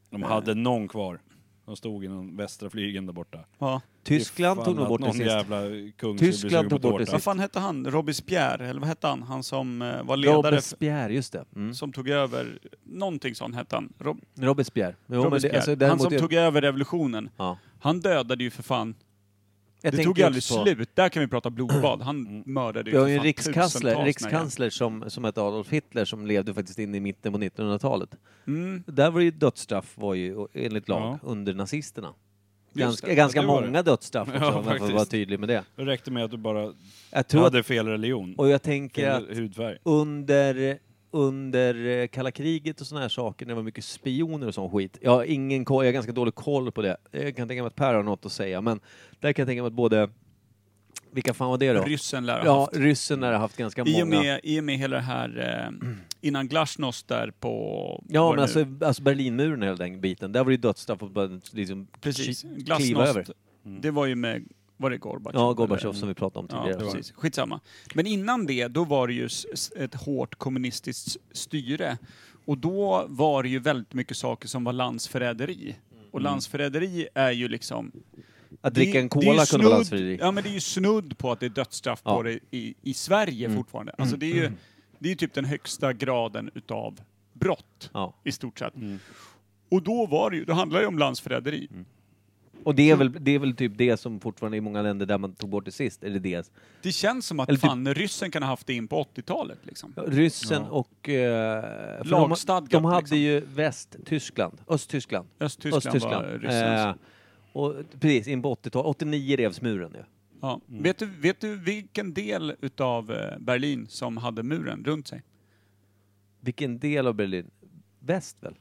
Speaker 4: De hade någon kvar. De stod i den västra flygeln där borta.
Speaker 3: ja.
Speaker 2: Tyskland
Speaker 4: Ifall
Speaker 2: tog nog
Speaker 4: att
Speaker 2: bort det
Speaker 4: någon
Speaker 2: sist.
Speaker 4: jävla kung
Speaker 2: Tyskland
Speaker 4: skulle bli sugen
Speaker 2: tog
Speaker 4: på
Speaker 2: bort det
Speaker 4: tårta.
Speaker 3: Vad fan hette han? Robespierre, eller vad hette han? Han som eh, var ledare,
Speaker 2: Robespierre, just det. Mm.
Speaker 3: som tog över, någonting sånt hette han. Rob,
Speaker 2: Robespierre. Jo, men det-
Speaker 3: Robespierre.
Speaker 2: alltså,
Speaker 3: han
Speaker 2: däremot
Speaker 3: som
Speaker 2: är-
Speaker 3: tog över revolutionen.
Speaker 2: Ja.
Speaker 3: Han dödade ju för fan,
Speaker 2: Jag
Speaker 3: det
Speaker 2: tänker
Speaker 3: tog ju aldrig
Speaker 2: också på- Mm.
Speaker 3: slut. Där kan vi prata blodbad. Han mördade
Speaker 2: Vi
Speaker 3: ju
Speaker 2: har
Speaker 3: för
Speaker 2: ju en
Speaker 3: fan
Speaker 2: rikskansler,
Speaker 3: tusentals
Speaker 2: rikskansler som, som hette Adolf Hitler som levde faktiskt in i mitten på 1900-talet.
Speaker 3: när jag- Mm,
Speaker 2: Där var ju dödsstraff var ju enligt lag
Speaker 4: Ja.
Speaker 2: under nazisterna.
Speaker 3: Just
Speaker 2: Ganska,
Speaker 3: det.
Speaker 2: ganska
Speaker 4: Det var det.
Speaker 2: många dödsstraff också,
Speaker 4: Ja,
Speaker 2: om man får
Speaker 4: faktiskt.
Speaker 2: vara tydlig med det.
Speaker 4: Det räckte med att du bara
Speaker 2: Jag tror att,
Speaker 4: hade fel religion.
Speaker 2: och jag tänker att
Speaker 4: Fel hudfärg.
Speaker 2: under, under eh, kalla kriget och såna här saker, när det var mycket spioner och sån skit. Jag har ingen koll, jag har ganska dålig koll på det. Jag kan tänka mig att Per har något att säga, men där kan jag tänka mig att både Vilka fan var det då?
Speaker 3: Ryssen lär ha
Speaker 2: ja,
Speaker 3: haft.
Speaker 2: ryssen har haft ganska
Speaker 3: I
Speaker 2: många.
Speaker 3: och, med, I och med hela det här eh, innan Glasnost där på...
Speaker 2: Ja,
Speaker 3: var
Speaker 2: men
Speaker 3: det
Speaker 2: alltså,
Speaker 3: nu?
Speaker 2: alltså Berlinmuren hela den biten. Där var det ju dödsstraff att bara liksom
Speaker 3: Precis.
Speaker 2: ki- kliva över.
Speaker 3: Glasnost, det var ju med... Var det Gorbatjov?
Speaker 2: Ja,
Speaker 3: eller?
Speaker 2: Gorbatjov som vi pratade om
Speaker 3: Ja,
Speaker 2: tidigare.
Speaker 3: precis. Skitsamma. Men innan det, då var det ju s- s- ett hårt kommunistiskt styre. Och då var det ju väldigt mycket saker som var landsförräderi.
Speaker 2: Mm.
Speaker 3: Och landsförräderi är ju liksom...
Speaker 2: Att dricka
Speaker 3: det-
Speaker 2: en
Speaker 3: det är
Speaker 2: cola
Speaker 3: ju
Speaker 2: kunde vara
Speaker 3: snudd-
Speaker 2: landsförräderi.
Speaker 3: Ja, men det är ju snudd på att det är dödsstraff
Speaker 2: Ja. Mm.
Speaker 3: på det i, i Sverige fortfarande. Alltså det är ju det är ju typ den högsta graden utav brott,
Speaker 2: Ja. Mm.
Speaker 3: i stort sett. Och då var det ju, då handlar det ju om landsförräderi.
Speaker 2: Och det är, väl, det är väl typ det som fortfarande i många länder där man tog bort det sist, eller det.
Speaker 3: Det känns som att
Speaker 2: Eller typ-
Speaker 3: fan, ryssen kan ha haft det in på 80-talet liksom.
Speaker 2: Ja, Ryssen och... Eh, för de-
Speaker 3: Lagstadgat,
Speaker 2: De hade
Speaker 3: liksom.
Speaker 2: ju Västtyskland, Östtyskland.
Speaker 3: Östtyskland, var ryssens.
Speaker 2: Eh, och precis, in på 80-talet. 89 revs muren ju.
Speaker 3: Ja.
Speaker 2: mm.
Speaker 3: Vet, du, vet du vilken del utav eh, Berlin som hade muren runt sig?
Speaker 2: Vilken del av Berlin? Väst väl?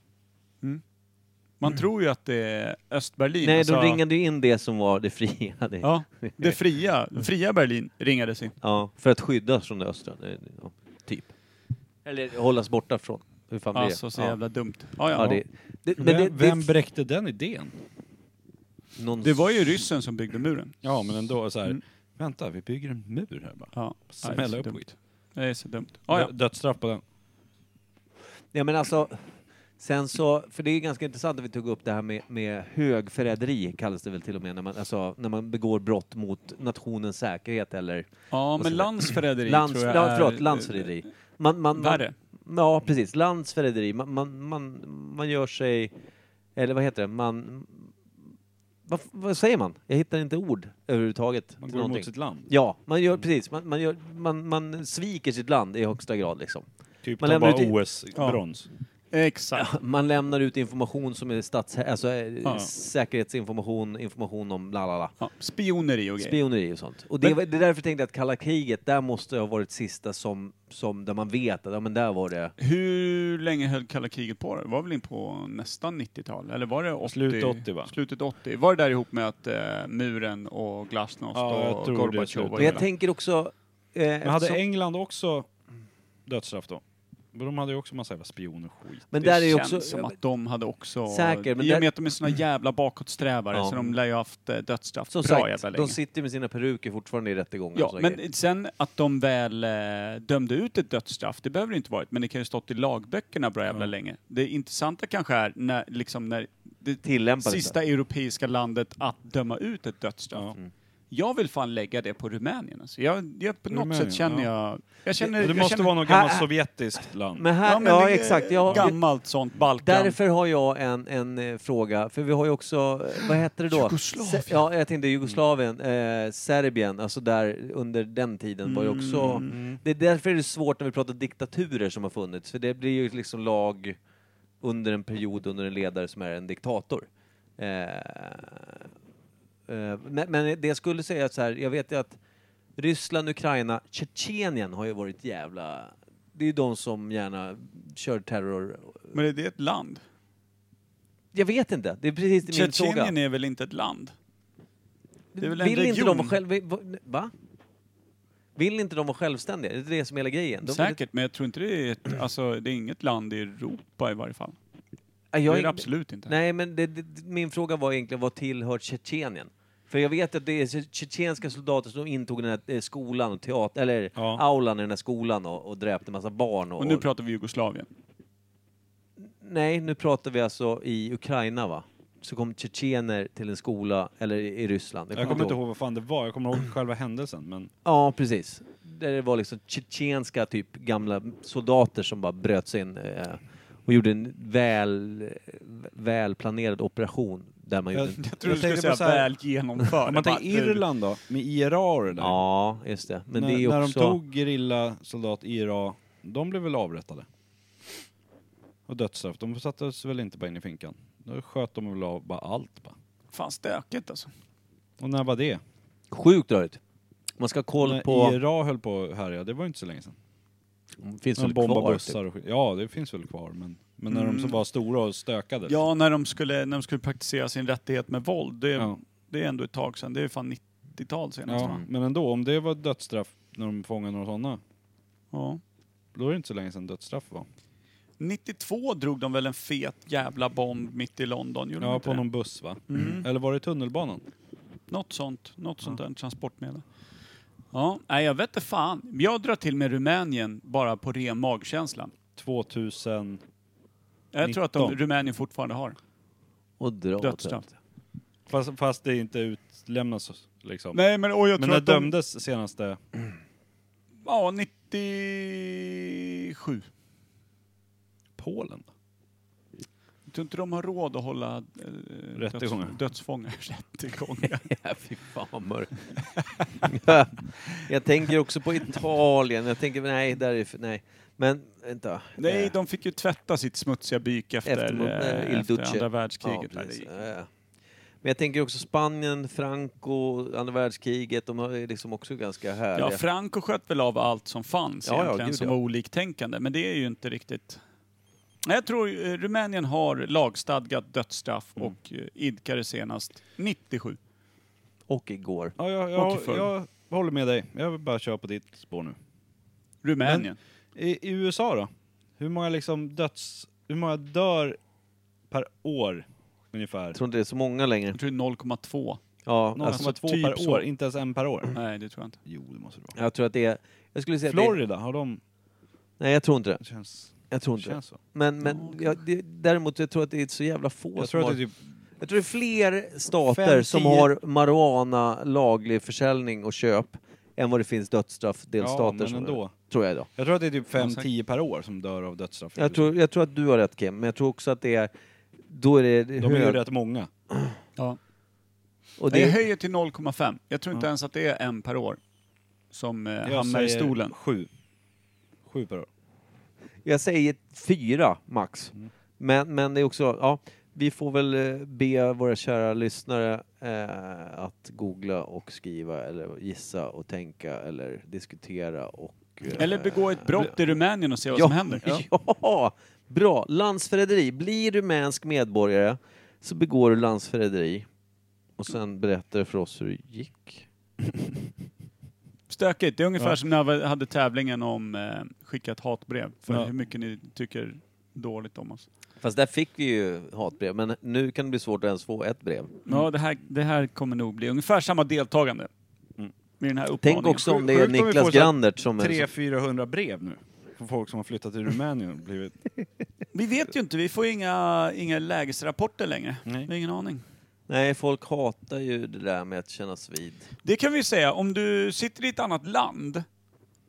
Speaker 3: Man tror ju att det är Östberlin.
Speaker 2: Nej,
Speaker 3: alltså-
Speaker 2: de ringade ju in det som var det fria. Det, ja.
Speaker 3: Ja, det fria, fria Berlin ringades in.
Speaker 2: för att skydda oss från det östra. Det- det- Ja, typ. Eller hållas borta från. Hur fan blir
Speaker 3: Alltså
Speaker 2: det?
Speaker 3: så
Speaker 2: Ja.
Speaker 3: jävla dumt. Ja, ja.
Speaker 2: Ja, det, det, men
Speaker 4: vem,
Speaker 2: det, det,
Speaker 4: vem bräckte den idén?
Speaker 2: någon,
Speaker 3: det var ju ryssen som byggde muren.
Speaker 4: Ja, men ändå så här.
Speaker 2: Mm.
Speaker 4: Vänta, vi bygger en mur här bara.
Speaker 3: Ja.
Speaker 4: Smälla
Speaker 3: Nej, det är så
Speaker 4: upp
Speaker 3: dumt.
Speaker 4: skit.
Speaker 3: Det är så dumt. Ja, ja.
Speaker 4: Dö- Dödsstraff på den.
Speaker 2: Ja men alltså, sen så, för det är ganska intressant att vi tog upp det här med, med högförräderi kallas det väl till och med, när man, alltså, när man begår brott mot nationens säkerhet eller
Speaker 3: ja
Speaker 2: Och så-
Speaker 3: men landsförräderi
Speaker 2: lands,
Speaker 3: tror jag
Speaker 2: la-
Speaker 3: är-
Speaker 2: förlåt, landsförräderi. Man, man, man,
Speaker 3: Värre.
Speaker 2: ja precis, landsförräderi. Man, man, man, man gör sig, eller vad heter det, man... Vad, vad säger man? Jag hittar inte ord överhuvudtaget. till
Speaker 4: Man går
Speaker 2: någonting.
Speaker 4: emot sitt land. Mm.
Speaker 2: Ja, man gör precis. Man, man, gör, man, man sviker sitt land i högsta grad liksom.
Speaker 4: Typ
Speaker 2: Man
Speaker 4: man
Speaker 2: lämnar
Speaker 4: bara
Speaker 2: ut i-
Speaker 4: OS-brons.
Speaker 3: Exakt.
Speaker 2: Man lämnar ut information som är stats... Alltså eh,
Speaker 3: Ja.
Speaker 2: säkerhetsinformation, information om la la la.
Speaker 3: Ja. Spioneri och grejer.
Speaker 2: Spioneri och sånt. Och det,
Speaker 3: Men-
Speaker 2: var, det är därför jag tänkte att kalla kriget, där måste det ha varit sista som, som där man vet att ja, men där var det...
Speaker 3: Hur länge höll kalla kriget på? Det var väl in på nästan 90-tal? Eller var det 80?
Speaker 4: Slutet 80, va?
Speaker 3: Slutet 80. Var det där ihop med att eh, muren och glasnost
Speaker 4: Ja, jag
Speaker 3: och
Speaker 4: tror det är
Speaker 3: Gorbatjov
Speaker 4: slutet.
Speaker 3: och
Speaker 2: Men jag
Speaker 3: hela-
Speaker 2: tänker också... Eh,
Speaker 4: Men hade
Speaker 2: eftersom-
Speaker 4: England också dödsstraff då? Men de hade ju också massa jävla spioner och skit.
Speaker 2: men
Speaker 3: det
Speaker 2: där är ju
Speaker 3: känns
Speaker 2: också...
Speaker 3: som att de hade också...
Speaker 2: Säker, men
Speaker 3: I och
Speaker 2: där-
Speaker 3: med att de är såna jävla bakåtsträvare
Speaker 2: Ja.
Speaker 3: så de lär ju ha haft eh, dödsstraff
Speaker 2: Som
Speaker 3: bra
Speaker 2: sagt,
Speaker 3: jävla
Speaker 2: de
Speaker 3: länge.
Speaker 2: sitter med sina peruker fortfarande i rättegångar. och
Speaker 3: Ja,
Speaker 2: såna grejer.
Speaker 3: men sen att de väl eh, dömde ut ett dödsstraff, det behöver det inte varit, men det kan ju stått i lagböckerna bra jävla länge. Det intressanta kanske är när, liksom när det
Speaker 2: Tillämpades det.
Speaker 3: sista europeiska landet att döma ut ett dödsstraff.
Speaker 2: Mm.
Speaker 3: Jag vill fan lägga det på Rumänien. Alltså. Jag, jag, på något
Speaker 4: Rumänien,
Speaker 3: sätt känner jag... jag känner,
Speaker 4: Det
Speaker 3: jag
Speaker 4: måste
Speaker 3: känner,
Speaker 4: vara något gammalt sovjetiskt land.
Speaker 2: Men här, ja,
Speaker 3: men det är
Speaker 2: exakt. Jag,
Speaker 3: Gammalt sånt, Balkan.
Speaker 2: Därför har jag en, en eh, fråga, för vi har ju också, eh, vad heter det då?
Speaker 3: Jugoslavien.
Speaker 2: Se- Ja, jag tänkte Jugoslavien, eh, Serbien, alltså där under den tiden var ju också... Det är därför är det svårt när vi pratar diktaturer som har funnits, för det blir ju liksom lag under en period, under en ledare som är en diktator. Eh, eh, men, men det jag skulle säga är så här, jag vet ju att Ryssland, Ukraina, Tjetjenien har ju varit jävla... Det är ju de som gärna kör terror
Speaker 3: Men är det ett land?
Speaker 2: jag vet inte. Det är precis det min fråga.
Speaker 3: Tjetjenien är väl inte ett land? det är väl en
Speaker 2: Vill inte de
Speaker 3: region?
Speaker 2: vara själv... Va? Vill inte de vara självständiga? Det är det som är hela grejen. De,
Speaker 3: Säkert, men jag tror inte det är ett, alltså, det är inget land i Europa i varje fall.
Speaker 2: Nej,
Speaker 3: Det
Speaker 2: jag,
Speaker 3: är det absolut inte.
Speaker 2: Nej, men det, det, min fråga var egentligen vad tillhör Tjetjenien? För jag vet att det är tje- tjetjenska soldater som intog den här eh, skolan, och teater, eller
Speaker 4: Ja.
Speaker 2: aulan i den här skolan och, och dräpte en massa barn. Och,
Speaker 3: Och nu pratar vi Jugoslavien.
Speaker 2: Nej, nu pratar vi alltså i Ukraina va? Så kom tjetjener till en skola, eller i, i Ryssland.
Speaker 4: Jag kommer inte ihåg vad fan det var, jag kommer ihåg själva händelsen. Men
Speaker 2: Ja, precis. Där det var liksom tjetjenska typ gamla soldater som bara bröt sig in eh, och gjorde en väl, välplanerad operation där man gjorde...
Speaker 3: Jag tror du
Speaker 4: Jag
Speaker 3: skulle
Speaker 4: tänkte
Speaker 3: säga
Speaker 4: på så här-
Speaker 3: väl genomförd.
Speaker 4: om man tar
Speaker 3: Bara, du-
Speaker 4: Irland då, med IRA och det där.
Speaker 2: Ja, just det. Men
Speaker 4: när,
Speaker 2: det är
Speaker 4: när
Speaker 2: också...
Speaker 4: de tog gerillasoldat IRA, de blev väl avrättade? Och dödsstraff. De sattes väl inte bara in i finkan? Då sköt de väl av bara allt bara.
Speaker 3: Fan stökigt alltså.
Speaker 4: Och när var det?
Speaker 2: Sjukt rörigt. Man ska ha koll
Speaker 4: När
Speaker 2: på...
Speaker 4: IRA höll på att härja, det var inte så länge sedan.
Speaker 2: Finns
Speaker 4: De
Speaker 2: väl
Speaker 4: bombade
Speaker 2: kvar, typ. Mm.
Speaker 4: bussar och skit. Ja, det finns väl kvar men... Men när de så var stora och stökade.
Speaker 3: Ja, när de skulle, när de skulle praktisera sin rättighet med våld. Det,
Speaker 4: Ja.
Speaker 3: det är ändå ett tag sedan. alltså. Det är fan 80-tal senast
Speaker 4: Ja,
Speaker 3: va?
Speaker 4: men ändå, om det var dödsstraff när de fångade några sådana,
Speaker 3: Ja.
Speaker 4: då är det inte så länge sedan dödsstraff var.
Speaker 3: 92 drog de väl en fet jävla bomb mitt i London? Gjorde de
Speaker 4: Ja,
Speaker 3: inte
Speaker 4: på
Speaker 3: det?
Speaker 4: någon buss va?
Speaker 3: Mm.
Speaker 4: Eller var det tunnelbanan?
Speaker 3: Något sånt, något sånt där transportmedel. Ja, nej jag vet inte fan. Jag drar till med Rumänien bara på ren magkänsla.
Speaker 4: 2000...
Speaker 3: Jag tror att de,
Speaker 4: 19.
Speaker 3: Rumänien fortfarande har
Speaker 2: Och dra åt
Speaker 3: dödsstraff.
Speaker 2: helvete.
Speaker 4: Fast, fast det inte utlämnas liksom.
Speaker 3: Nej men och jag
Speaker 4: men
Speaker 3: tror
Speaker 4: när
Speaker 3: att de...
Speaker 4: dömdes senaste...
Speaker 3: Ja, 97.
Speaker 4: Polen? då?
Speaker 3: Jag tror inte de har råd att hålla eh,
Speaker 4: Rättegångar.
Speaker 3: Döds, dödsfångar. Rättegångar.
Speaker 2: Ja, fy fan vad mörkt. Ja, jag tänker också på Italien. Jag tänker, nej, där är, för- nej. Men, vänta.
Speaker 3: Nej,
Speaker 2: Eh,
Speaker 3: de fick ju tvätta sitt smutsiga byk efter,
Speaker 2: Efter mot- eh, Il
Speaker 3: efter,
Speaker 2: Duce.
Speaker 3: efter andra
Speaker 2: ja,
Speaker 3: världskriget. Nej, det
Speaker 2: precis.
Speaker 3: gick.
Speaker 2: Eh, Men jag tänker också Spanien, Franco, andra världskriget. De har ju liksom också ganska härliga...
Speaker 3: ja, Franco sköt väl av allt som fanns
Speaker 2: Ja, ja,
Speaker 3: egentligen,
Speaker 2: gud,
Speaker 3: som
Speaker 2: ja.
Speaker 3: var oliktänkande. Men det är ju inte riktigt... Nej, Jag tror eh, Rumänien har lagstadgat dödsstraff
Speaker 2: Mm.
Speaker 3: och eh, idkade senast 97.
Speaker 2: och igår.
Speaker 4: Ja, jag, jag,
Speaker 3: Och förr.
Speaker 4: jag, håller med dig. Jag vill bara köra på ditt spår nu.
Speaker 3: Rumänien.
Speaker 4: I, I USA då? Hur många liksom döds... Hur många dör per år ungefär?
Speaker 2: Jag tror inte det är så många längre.
Speaker 3: Jag tror det är 0,2.
Speaker 2: Ja,
Speaker 4: Någon
Speaker 2: alltså,
Speaker 4: som har två
Speaker 3: typ
Speaker 4: per
Speaker 3: så.
Speaker 4: år, inte ens en per
Speaker 2: Mm.
Speaker 4: år.
Speaker 3: Nej, det tror jag inte.
Speaker 4: Jo, det måste det vara.
Speaker 2: jag tror att det är... Jag skulle säga att det,
Speaker 4: Florida, har de...
Speaker 2: Nej, jag tror inte det.
Speaker 4: Känns,
Speaker 2: Jag tror inte det.
Speaker 4: känns så.
Speaker 2: Men, men jag, det, däremot jag tror att det är så jävla få
Speaker 4: Jag
Speaker 2: som
Speaker 4: tror
Speaker 2: har...
Speaker 4: att det är typ...
Speaker 2: Jag tror det är fler stater
Speaker 4: Fem,
Speaker 2: som
Speaker 4: tio.
Speaker 2: har marijuana laglig försäljning och köp än vad det finns
Speaker 4: Ja,
Speaker 2: dödsstraffdelstater
Speaker 4: men
Speaker 2: som
Speaker 4: ändå.
Speaker 2: tror jag idag.
Speaker 4: Jag tror att det är typ
Speaker 3: Ja,
Speaker 4: 5-10 per år som dör av dödsstraff. i
Speaker 2: Jag
Speaker 4: USA.
Speaker 2: tror, jag tror att du har rätt Kim, men jag tror också att det är... Då är det
Speaker 4: de är ju
Speaker 2: hög-
Speaker 4: rätt många.
Speaker 3: Ja.
Speaker 2: och
Speaker 3: Nej,
Speaker 2: det
Speaker 3: Jag höjer till 0,5. Jag tror inte ens att det är en per år som eh, hamnar
Speaker 4: säger
Speaker 3: i stolen.
Speaker 4: Sju. Sju per år.
Speaker 2: Jag säger fyra max. Men, men det är också, ja, vi får väl eh, be våra kära lyssnare eh, att googla och skriva eller gissa och tänka eller diskutera och... eh,
Speaker 3: Eller begå ett brott i Rumänien och se vad
Speaker 2: ja,
Speaker 3: som händer.
Speaker 2: Ja. bra! Landsförräderi. Blir du rumänsk medborgare så begår du landsförräderi. Och sen berättar du för oss hur det gick.
Speaker 3: Stökigt. Det är ungefär
Speaker 4: Ja.
Speaker 3: som när vi hade tävlingen om eh, skicka ett hatbrev. För
Speaker 4: Ja.
Speaker 3: hur mycket ni tycker dåligt om oss.
Speaker 2: Fast där fick vi ju hatbrev, men nu kan det bli svårt att ens få ett brev.
Speaker 3: Ja, det här, det här kommer nog bli ungefär samma deltagande. Med den här uppmaningen.
Speaker 2: Tänk också om det är
Speaker 4: Sjukt om vi får
Speaker 2: Niklas
Speaker 4: så här
Speaker 2: Grandert som...
Speaker 4: 300-400 brev nu. Från folk som har flyttat till Rumänien och blivit...
Speaker 3: Vi vet ju inte, vi får inga, inga lägesrapporter längre.
Speaker 4: Nej.
Speaker 3: Vi har ingen aning.
Speaker 2: Nej, folk hatar ju det där med att kännas vid.
Speaker 3: Det kan vi säga, om du sitter i ett annat land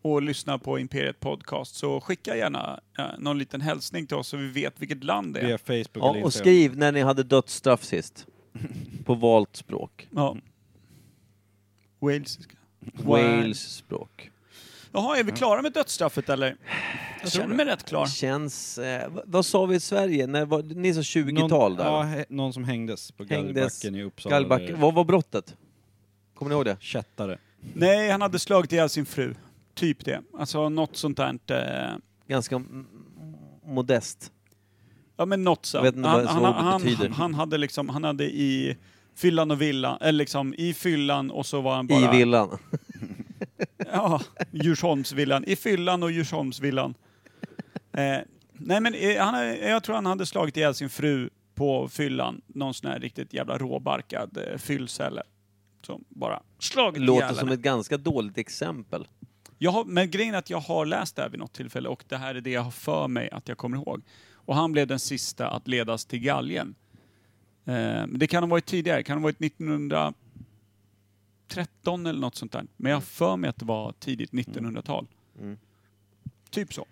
Speaker 3: och lyssnar på Imperiet Podcast så skicka gärna eh, någon liten hälsning till oss så vi vet vilket land det är.
Speaker 4: Via Facebook eller
Speaker 2: Ja, och
Speaker 4: Instagram.
Speaker 2: skriv när ni hade dödsstraff sist. På valt språk.
Speaker 3: Ja. Wales.
Speaker 2: Wales språk.
Speaker 3: Jaha, är vi klara med dödsstraffet eller? Jag känner mig rätt klar.
Speaker 2: Känns... Eh, vad, vad sa vi i Sverige? När var, ni sa 20-tal där?
Speaker 4: Ja,
Speaker 2: va?
Speaker 4: he- någon som hängdes på
Speaker 2: Hängdes.
Speaker 4: Gallbacken i Uppsala.
Speaker 2: Gallbacken. Vad var brottet? Kommer ni ihåg det?
Speaker 4: Kättare.
Speaker 3: Nej, han hade slagit ihjäl sin fru. Typ det. Alltså något sånt eh, där inte...
Speaker 2: Ganska m- modest.
Speaker 3: Ja men något så.
Speaker 2: Jag vet inte
Speaker 3: han,
Speaker 2: vad ens
Speaker 3: han,
Speaker 2: ordet
Speaker 3: han,
Speaker 2: betyder.
Speaker 3: han, hade liksom, han hade i fyllan och villan, eller liksom i fyllan och så var han bara...
Speaker 2: I villan.
Speaker 3: Ja, Djursholmsvillan. I fyllan och Djursholmsvillan. Eh, nej men eh, han, eh, jag tror han hade slagit ihjäl sin fru på fyllan. Någon sån här riktigt jävla råbarkad eh, fyllcelle. Som bara slagit
Speaker 2: Låter
Speaker 3: ihjäl
Speaker 2: som
Speaker 3: henne.
Speaker 2: ett ganska dåligt exempel.
Speaker 3: Jag har, men grejen är att jag har läst det här vid något tillfälle och det här är det jag har för mig att jag kommer ihåg. Och han blev den sista att ledas till galgen. Eh, men det kan ha varit tidigare, kan ha varit 1913 eller något sånt där. Men jag har för mig att det var tidigt 1900-tal.
Speaker 2: Mm.
Speaker 3: Typ så.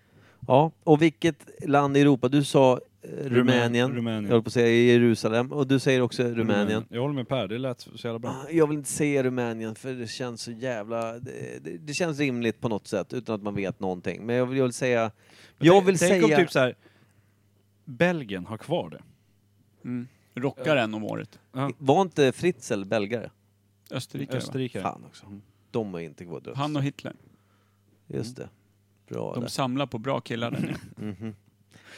Speaker 2: Ja, och vilket land i Europa? Du sa eh, Rumänien. Jag
Speaker 4: Rumänien.
Speaker 2: höll på att säga Jerusalem. Och du säger också Rumänien.
Speaker 4: Jag håller med Per, det lät så jävla bra.
Speaker 2: Ah, Jag vill inte säga Rumänien för det känns så jävla... Det, det, det känns rimligt på något sätt utan att man vet någonting. Men jag vill, jag vill säga... jag
Speaker 4: Tänk-
Speaker 2: vill
Speaker 4: Tänk
Speaker 2: säga...
Speaker 4: om typ så här, Belgien har kvar det.
Speaker 3: Rockar en om året.
Speaker 2: Var inte Fritzl belgare?
Speaker 3: Österrike, va?
Speaker 4: Österrike. Mm.
Speaker 2: Fan också. De har inte kvar döds.
Speaker 3: Han och Hitler.
Speaker 2: Just det. Bra
Speaker 3: De
Speaker 2: där.
Speaker 3: samlar på bra killar där nere.
Speaker 2: Mhm.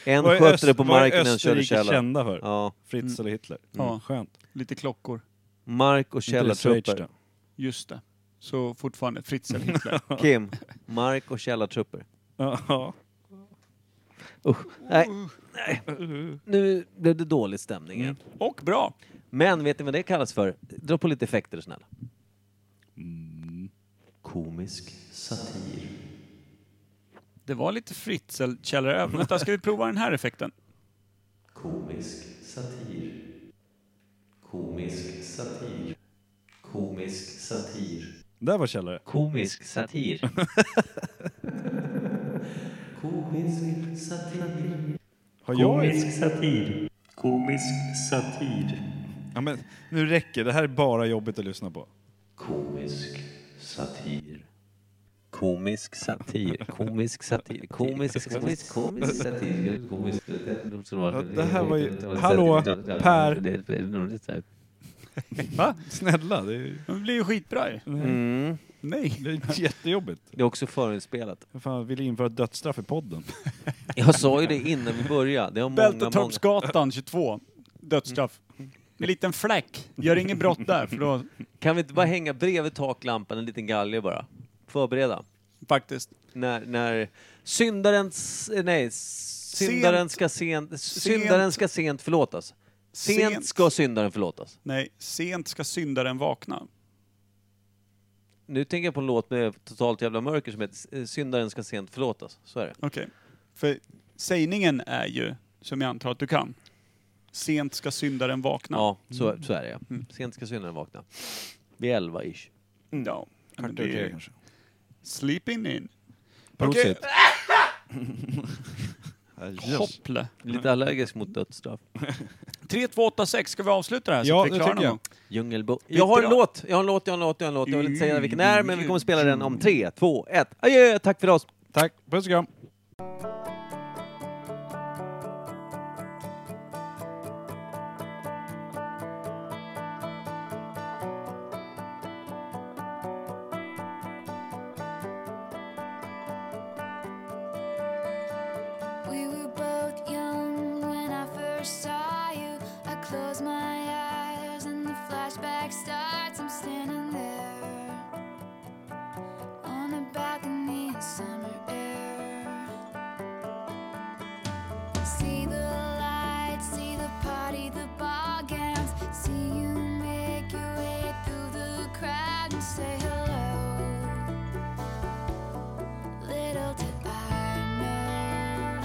Speaker 2: En
Speaker 4: Vad är
Speaker 2: skötte
Speaker 4: Öst-
Speaker 2: det på
Speaker 4: vad är
Speaker 2: marken, en körde
Speaker 4: Österrike
Speaker 2: källaren.
Speaker 4: kända för?
Speaker 2: Ja. Mm.
Speaker 4: Fritzl och Hitler.
Speaker 3: Ja.
Speaker 4: Skönt.
Speaker 3: Lite klockor.
Speaker 2: Mark och
Speaker 4: Inte det Schweiz
Speaker 2: källartrupper.
Speaker 4: då?
Speaker 3: Just det. Så fortfarande Fritzl Hitler.
Speaker 2: Kim, Mark och källartrupper.
Speaker 4: Ja.
Speaker 2: Nej, nej. Nu blev det dålig stämning igen.
Speaker 3: Och bra!
Speaker 2: Mm. Men vet ni vad det kallas för? Dra på lite effekter snälla. Komisk satir.
Speaker 3: Det var lite Fritzl-källare över. Vänta, ska vi prova den här effekten?
Speaker 2: Komisk satir. Komisk satir. Komisk satir.
Speaker 4: Där var källare.
Speaker 2: Komisk satir. Komisk satir.
Speaker 4: Har jag...
Speaker 7: Komisk satir. Komisk satir.
Speaker 4: Ja, men nu räcker det. här är bara jobbigt att lyssna på.
Speaker 2: Komisk satir. Komisk satir. Komisk satir. Komisk satir. Komisk satir. Komisk
Speaker 4: Ja, det här var ju- Hallå, Per. Va? Snälla, det är,
Speaker 3: Det blir ju skitbra ju.
Speaker 2: Mm.
Speaker 3: Nej.
Speaker 4: det är jättejobbigt.
Speaker 2: Det är också förinspelat.
Speaker 4: Jag fan vill införa dödsstraff i podden.
Speaker 2: Jag sa ju det innan vi började. Det har många, många...
Speaker 3: Bältetorpsgatan 22. Dödsstraff.
Speaker 4: Mm.
Speaker 3: Med liten fläck. Gör inget brott där för då,
Speaker 2: Kan vi inte bara hänga bredvid taklampan en liten galge bara? Förbereda.
Speaker 3: faktiskt.
Speaker 2: När, när syndarens... Nej, syndaren ska sent... Syndaren ska sent förlåtas. Sent
Speaker 3: Sent.
Speaker 2: ska syndaren förlåtas.
Speaker 3: Nej, sent ska syndaren vakna.
Speaker 2: Nu tänker jag på en låt med totalt jävla mörker som heter eh, Syndaren ska sent förlåtas. Så är det.
Speaker 3: Okej. För sägningen är ju, som jag antar att du kan, sent ska syndaren vakna.
Speaker 2: Ja, Mm. så, så är det ja. Sent ska syndaren vakna. Vid elva ish.
Speaker 3: Mm. Ja. Men det är
Speaker 4: Okej,
Speaker 3: ju
Speaker 4: kanske.
Speaker 3: sleeping in.
Speaker 4: Prosit. Yes.
Speaker 3: Hopple.
Speaker 2: Lite allergisk mot dödsstraff.
Speaker 3: 3, 2, 8, 6. Ska vi avsluta det här så
Speaker 4: Ja,
Speaker 3: att vi är
Speaker 4: det
Speaker 3: klara
Speaker 4: tycker
Speaker 3: någon
Speaker 4: jag.
Speaker 3: gång?
Speaker 2: Djungelbo. Jag har en låt, jag har en låt, jag har en låt, jag har en låt. Jag vill inte säga vilken det är, men vi kommer spela den om tre, två, ett. Adjö, tack för oss!
Speaker 4: Tack. Puss och kram.
Speaker 8: We were both young when I first saw you. I close my eyes and the flashback starts. I'm standing there on a balcony in summer air. See the lights, see the party, the ball gowns. See you make your way through the crowd and say hello. Little did I know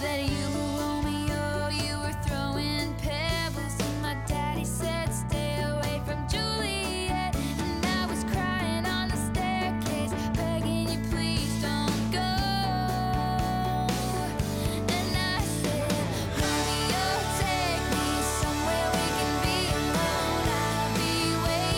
Speaker 8: that you were Romeo, you were throwing pebbles, and my daddy said stay away from Juliet, and I was crying on the staircase, begging you please don't go, and I said Romeo, take me somewhere we can be alone, I'll be waiting.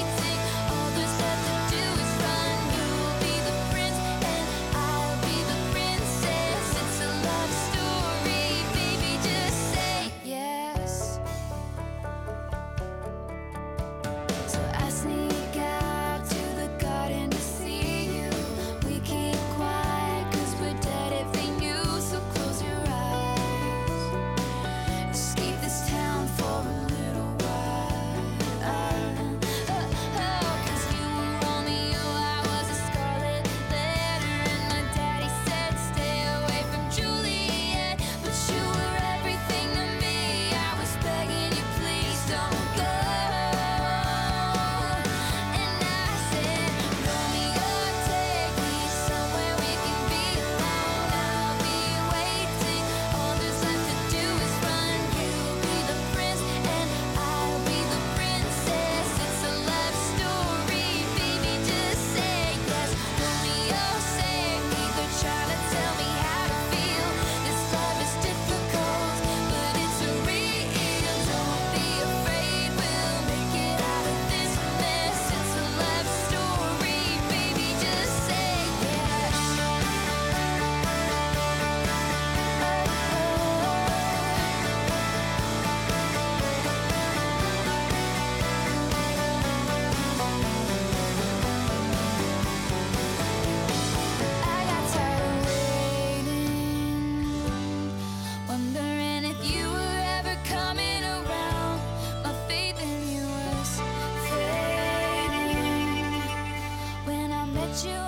Speaker 8: what you Oh, oh,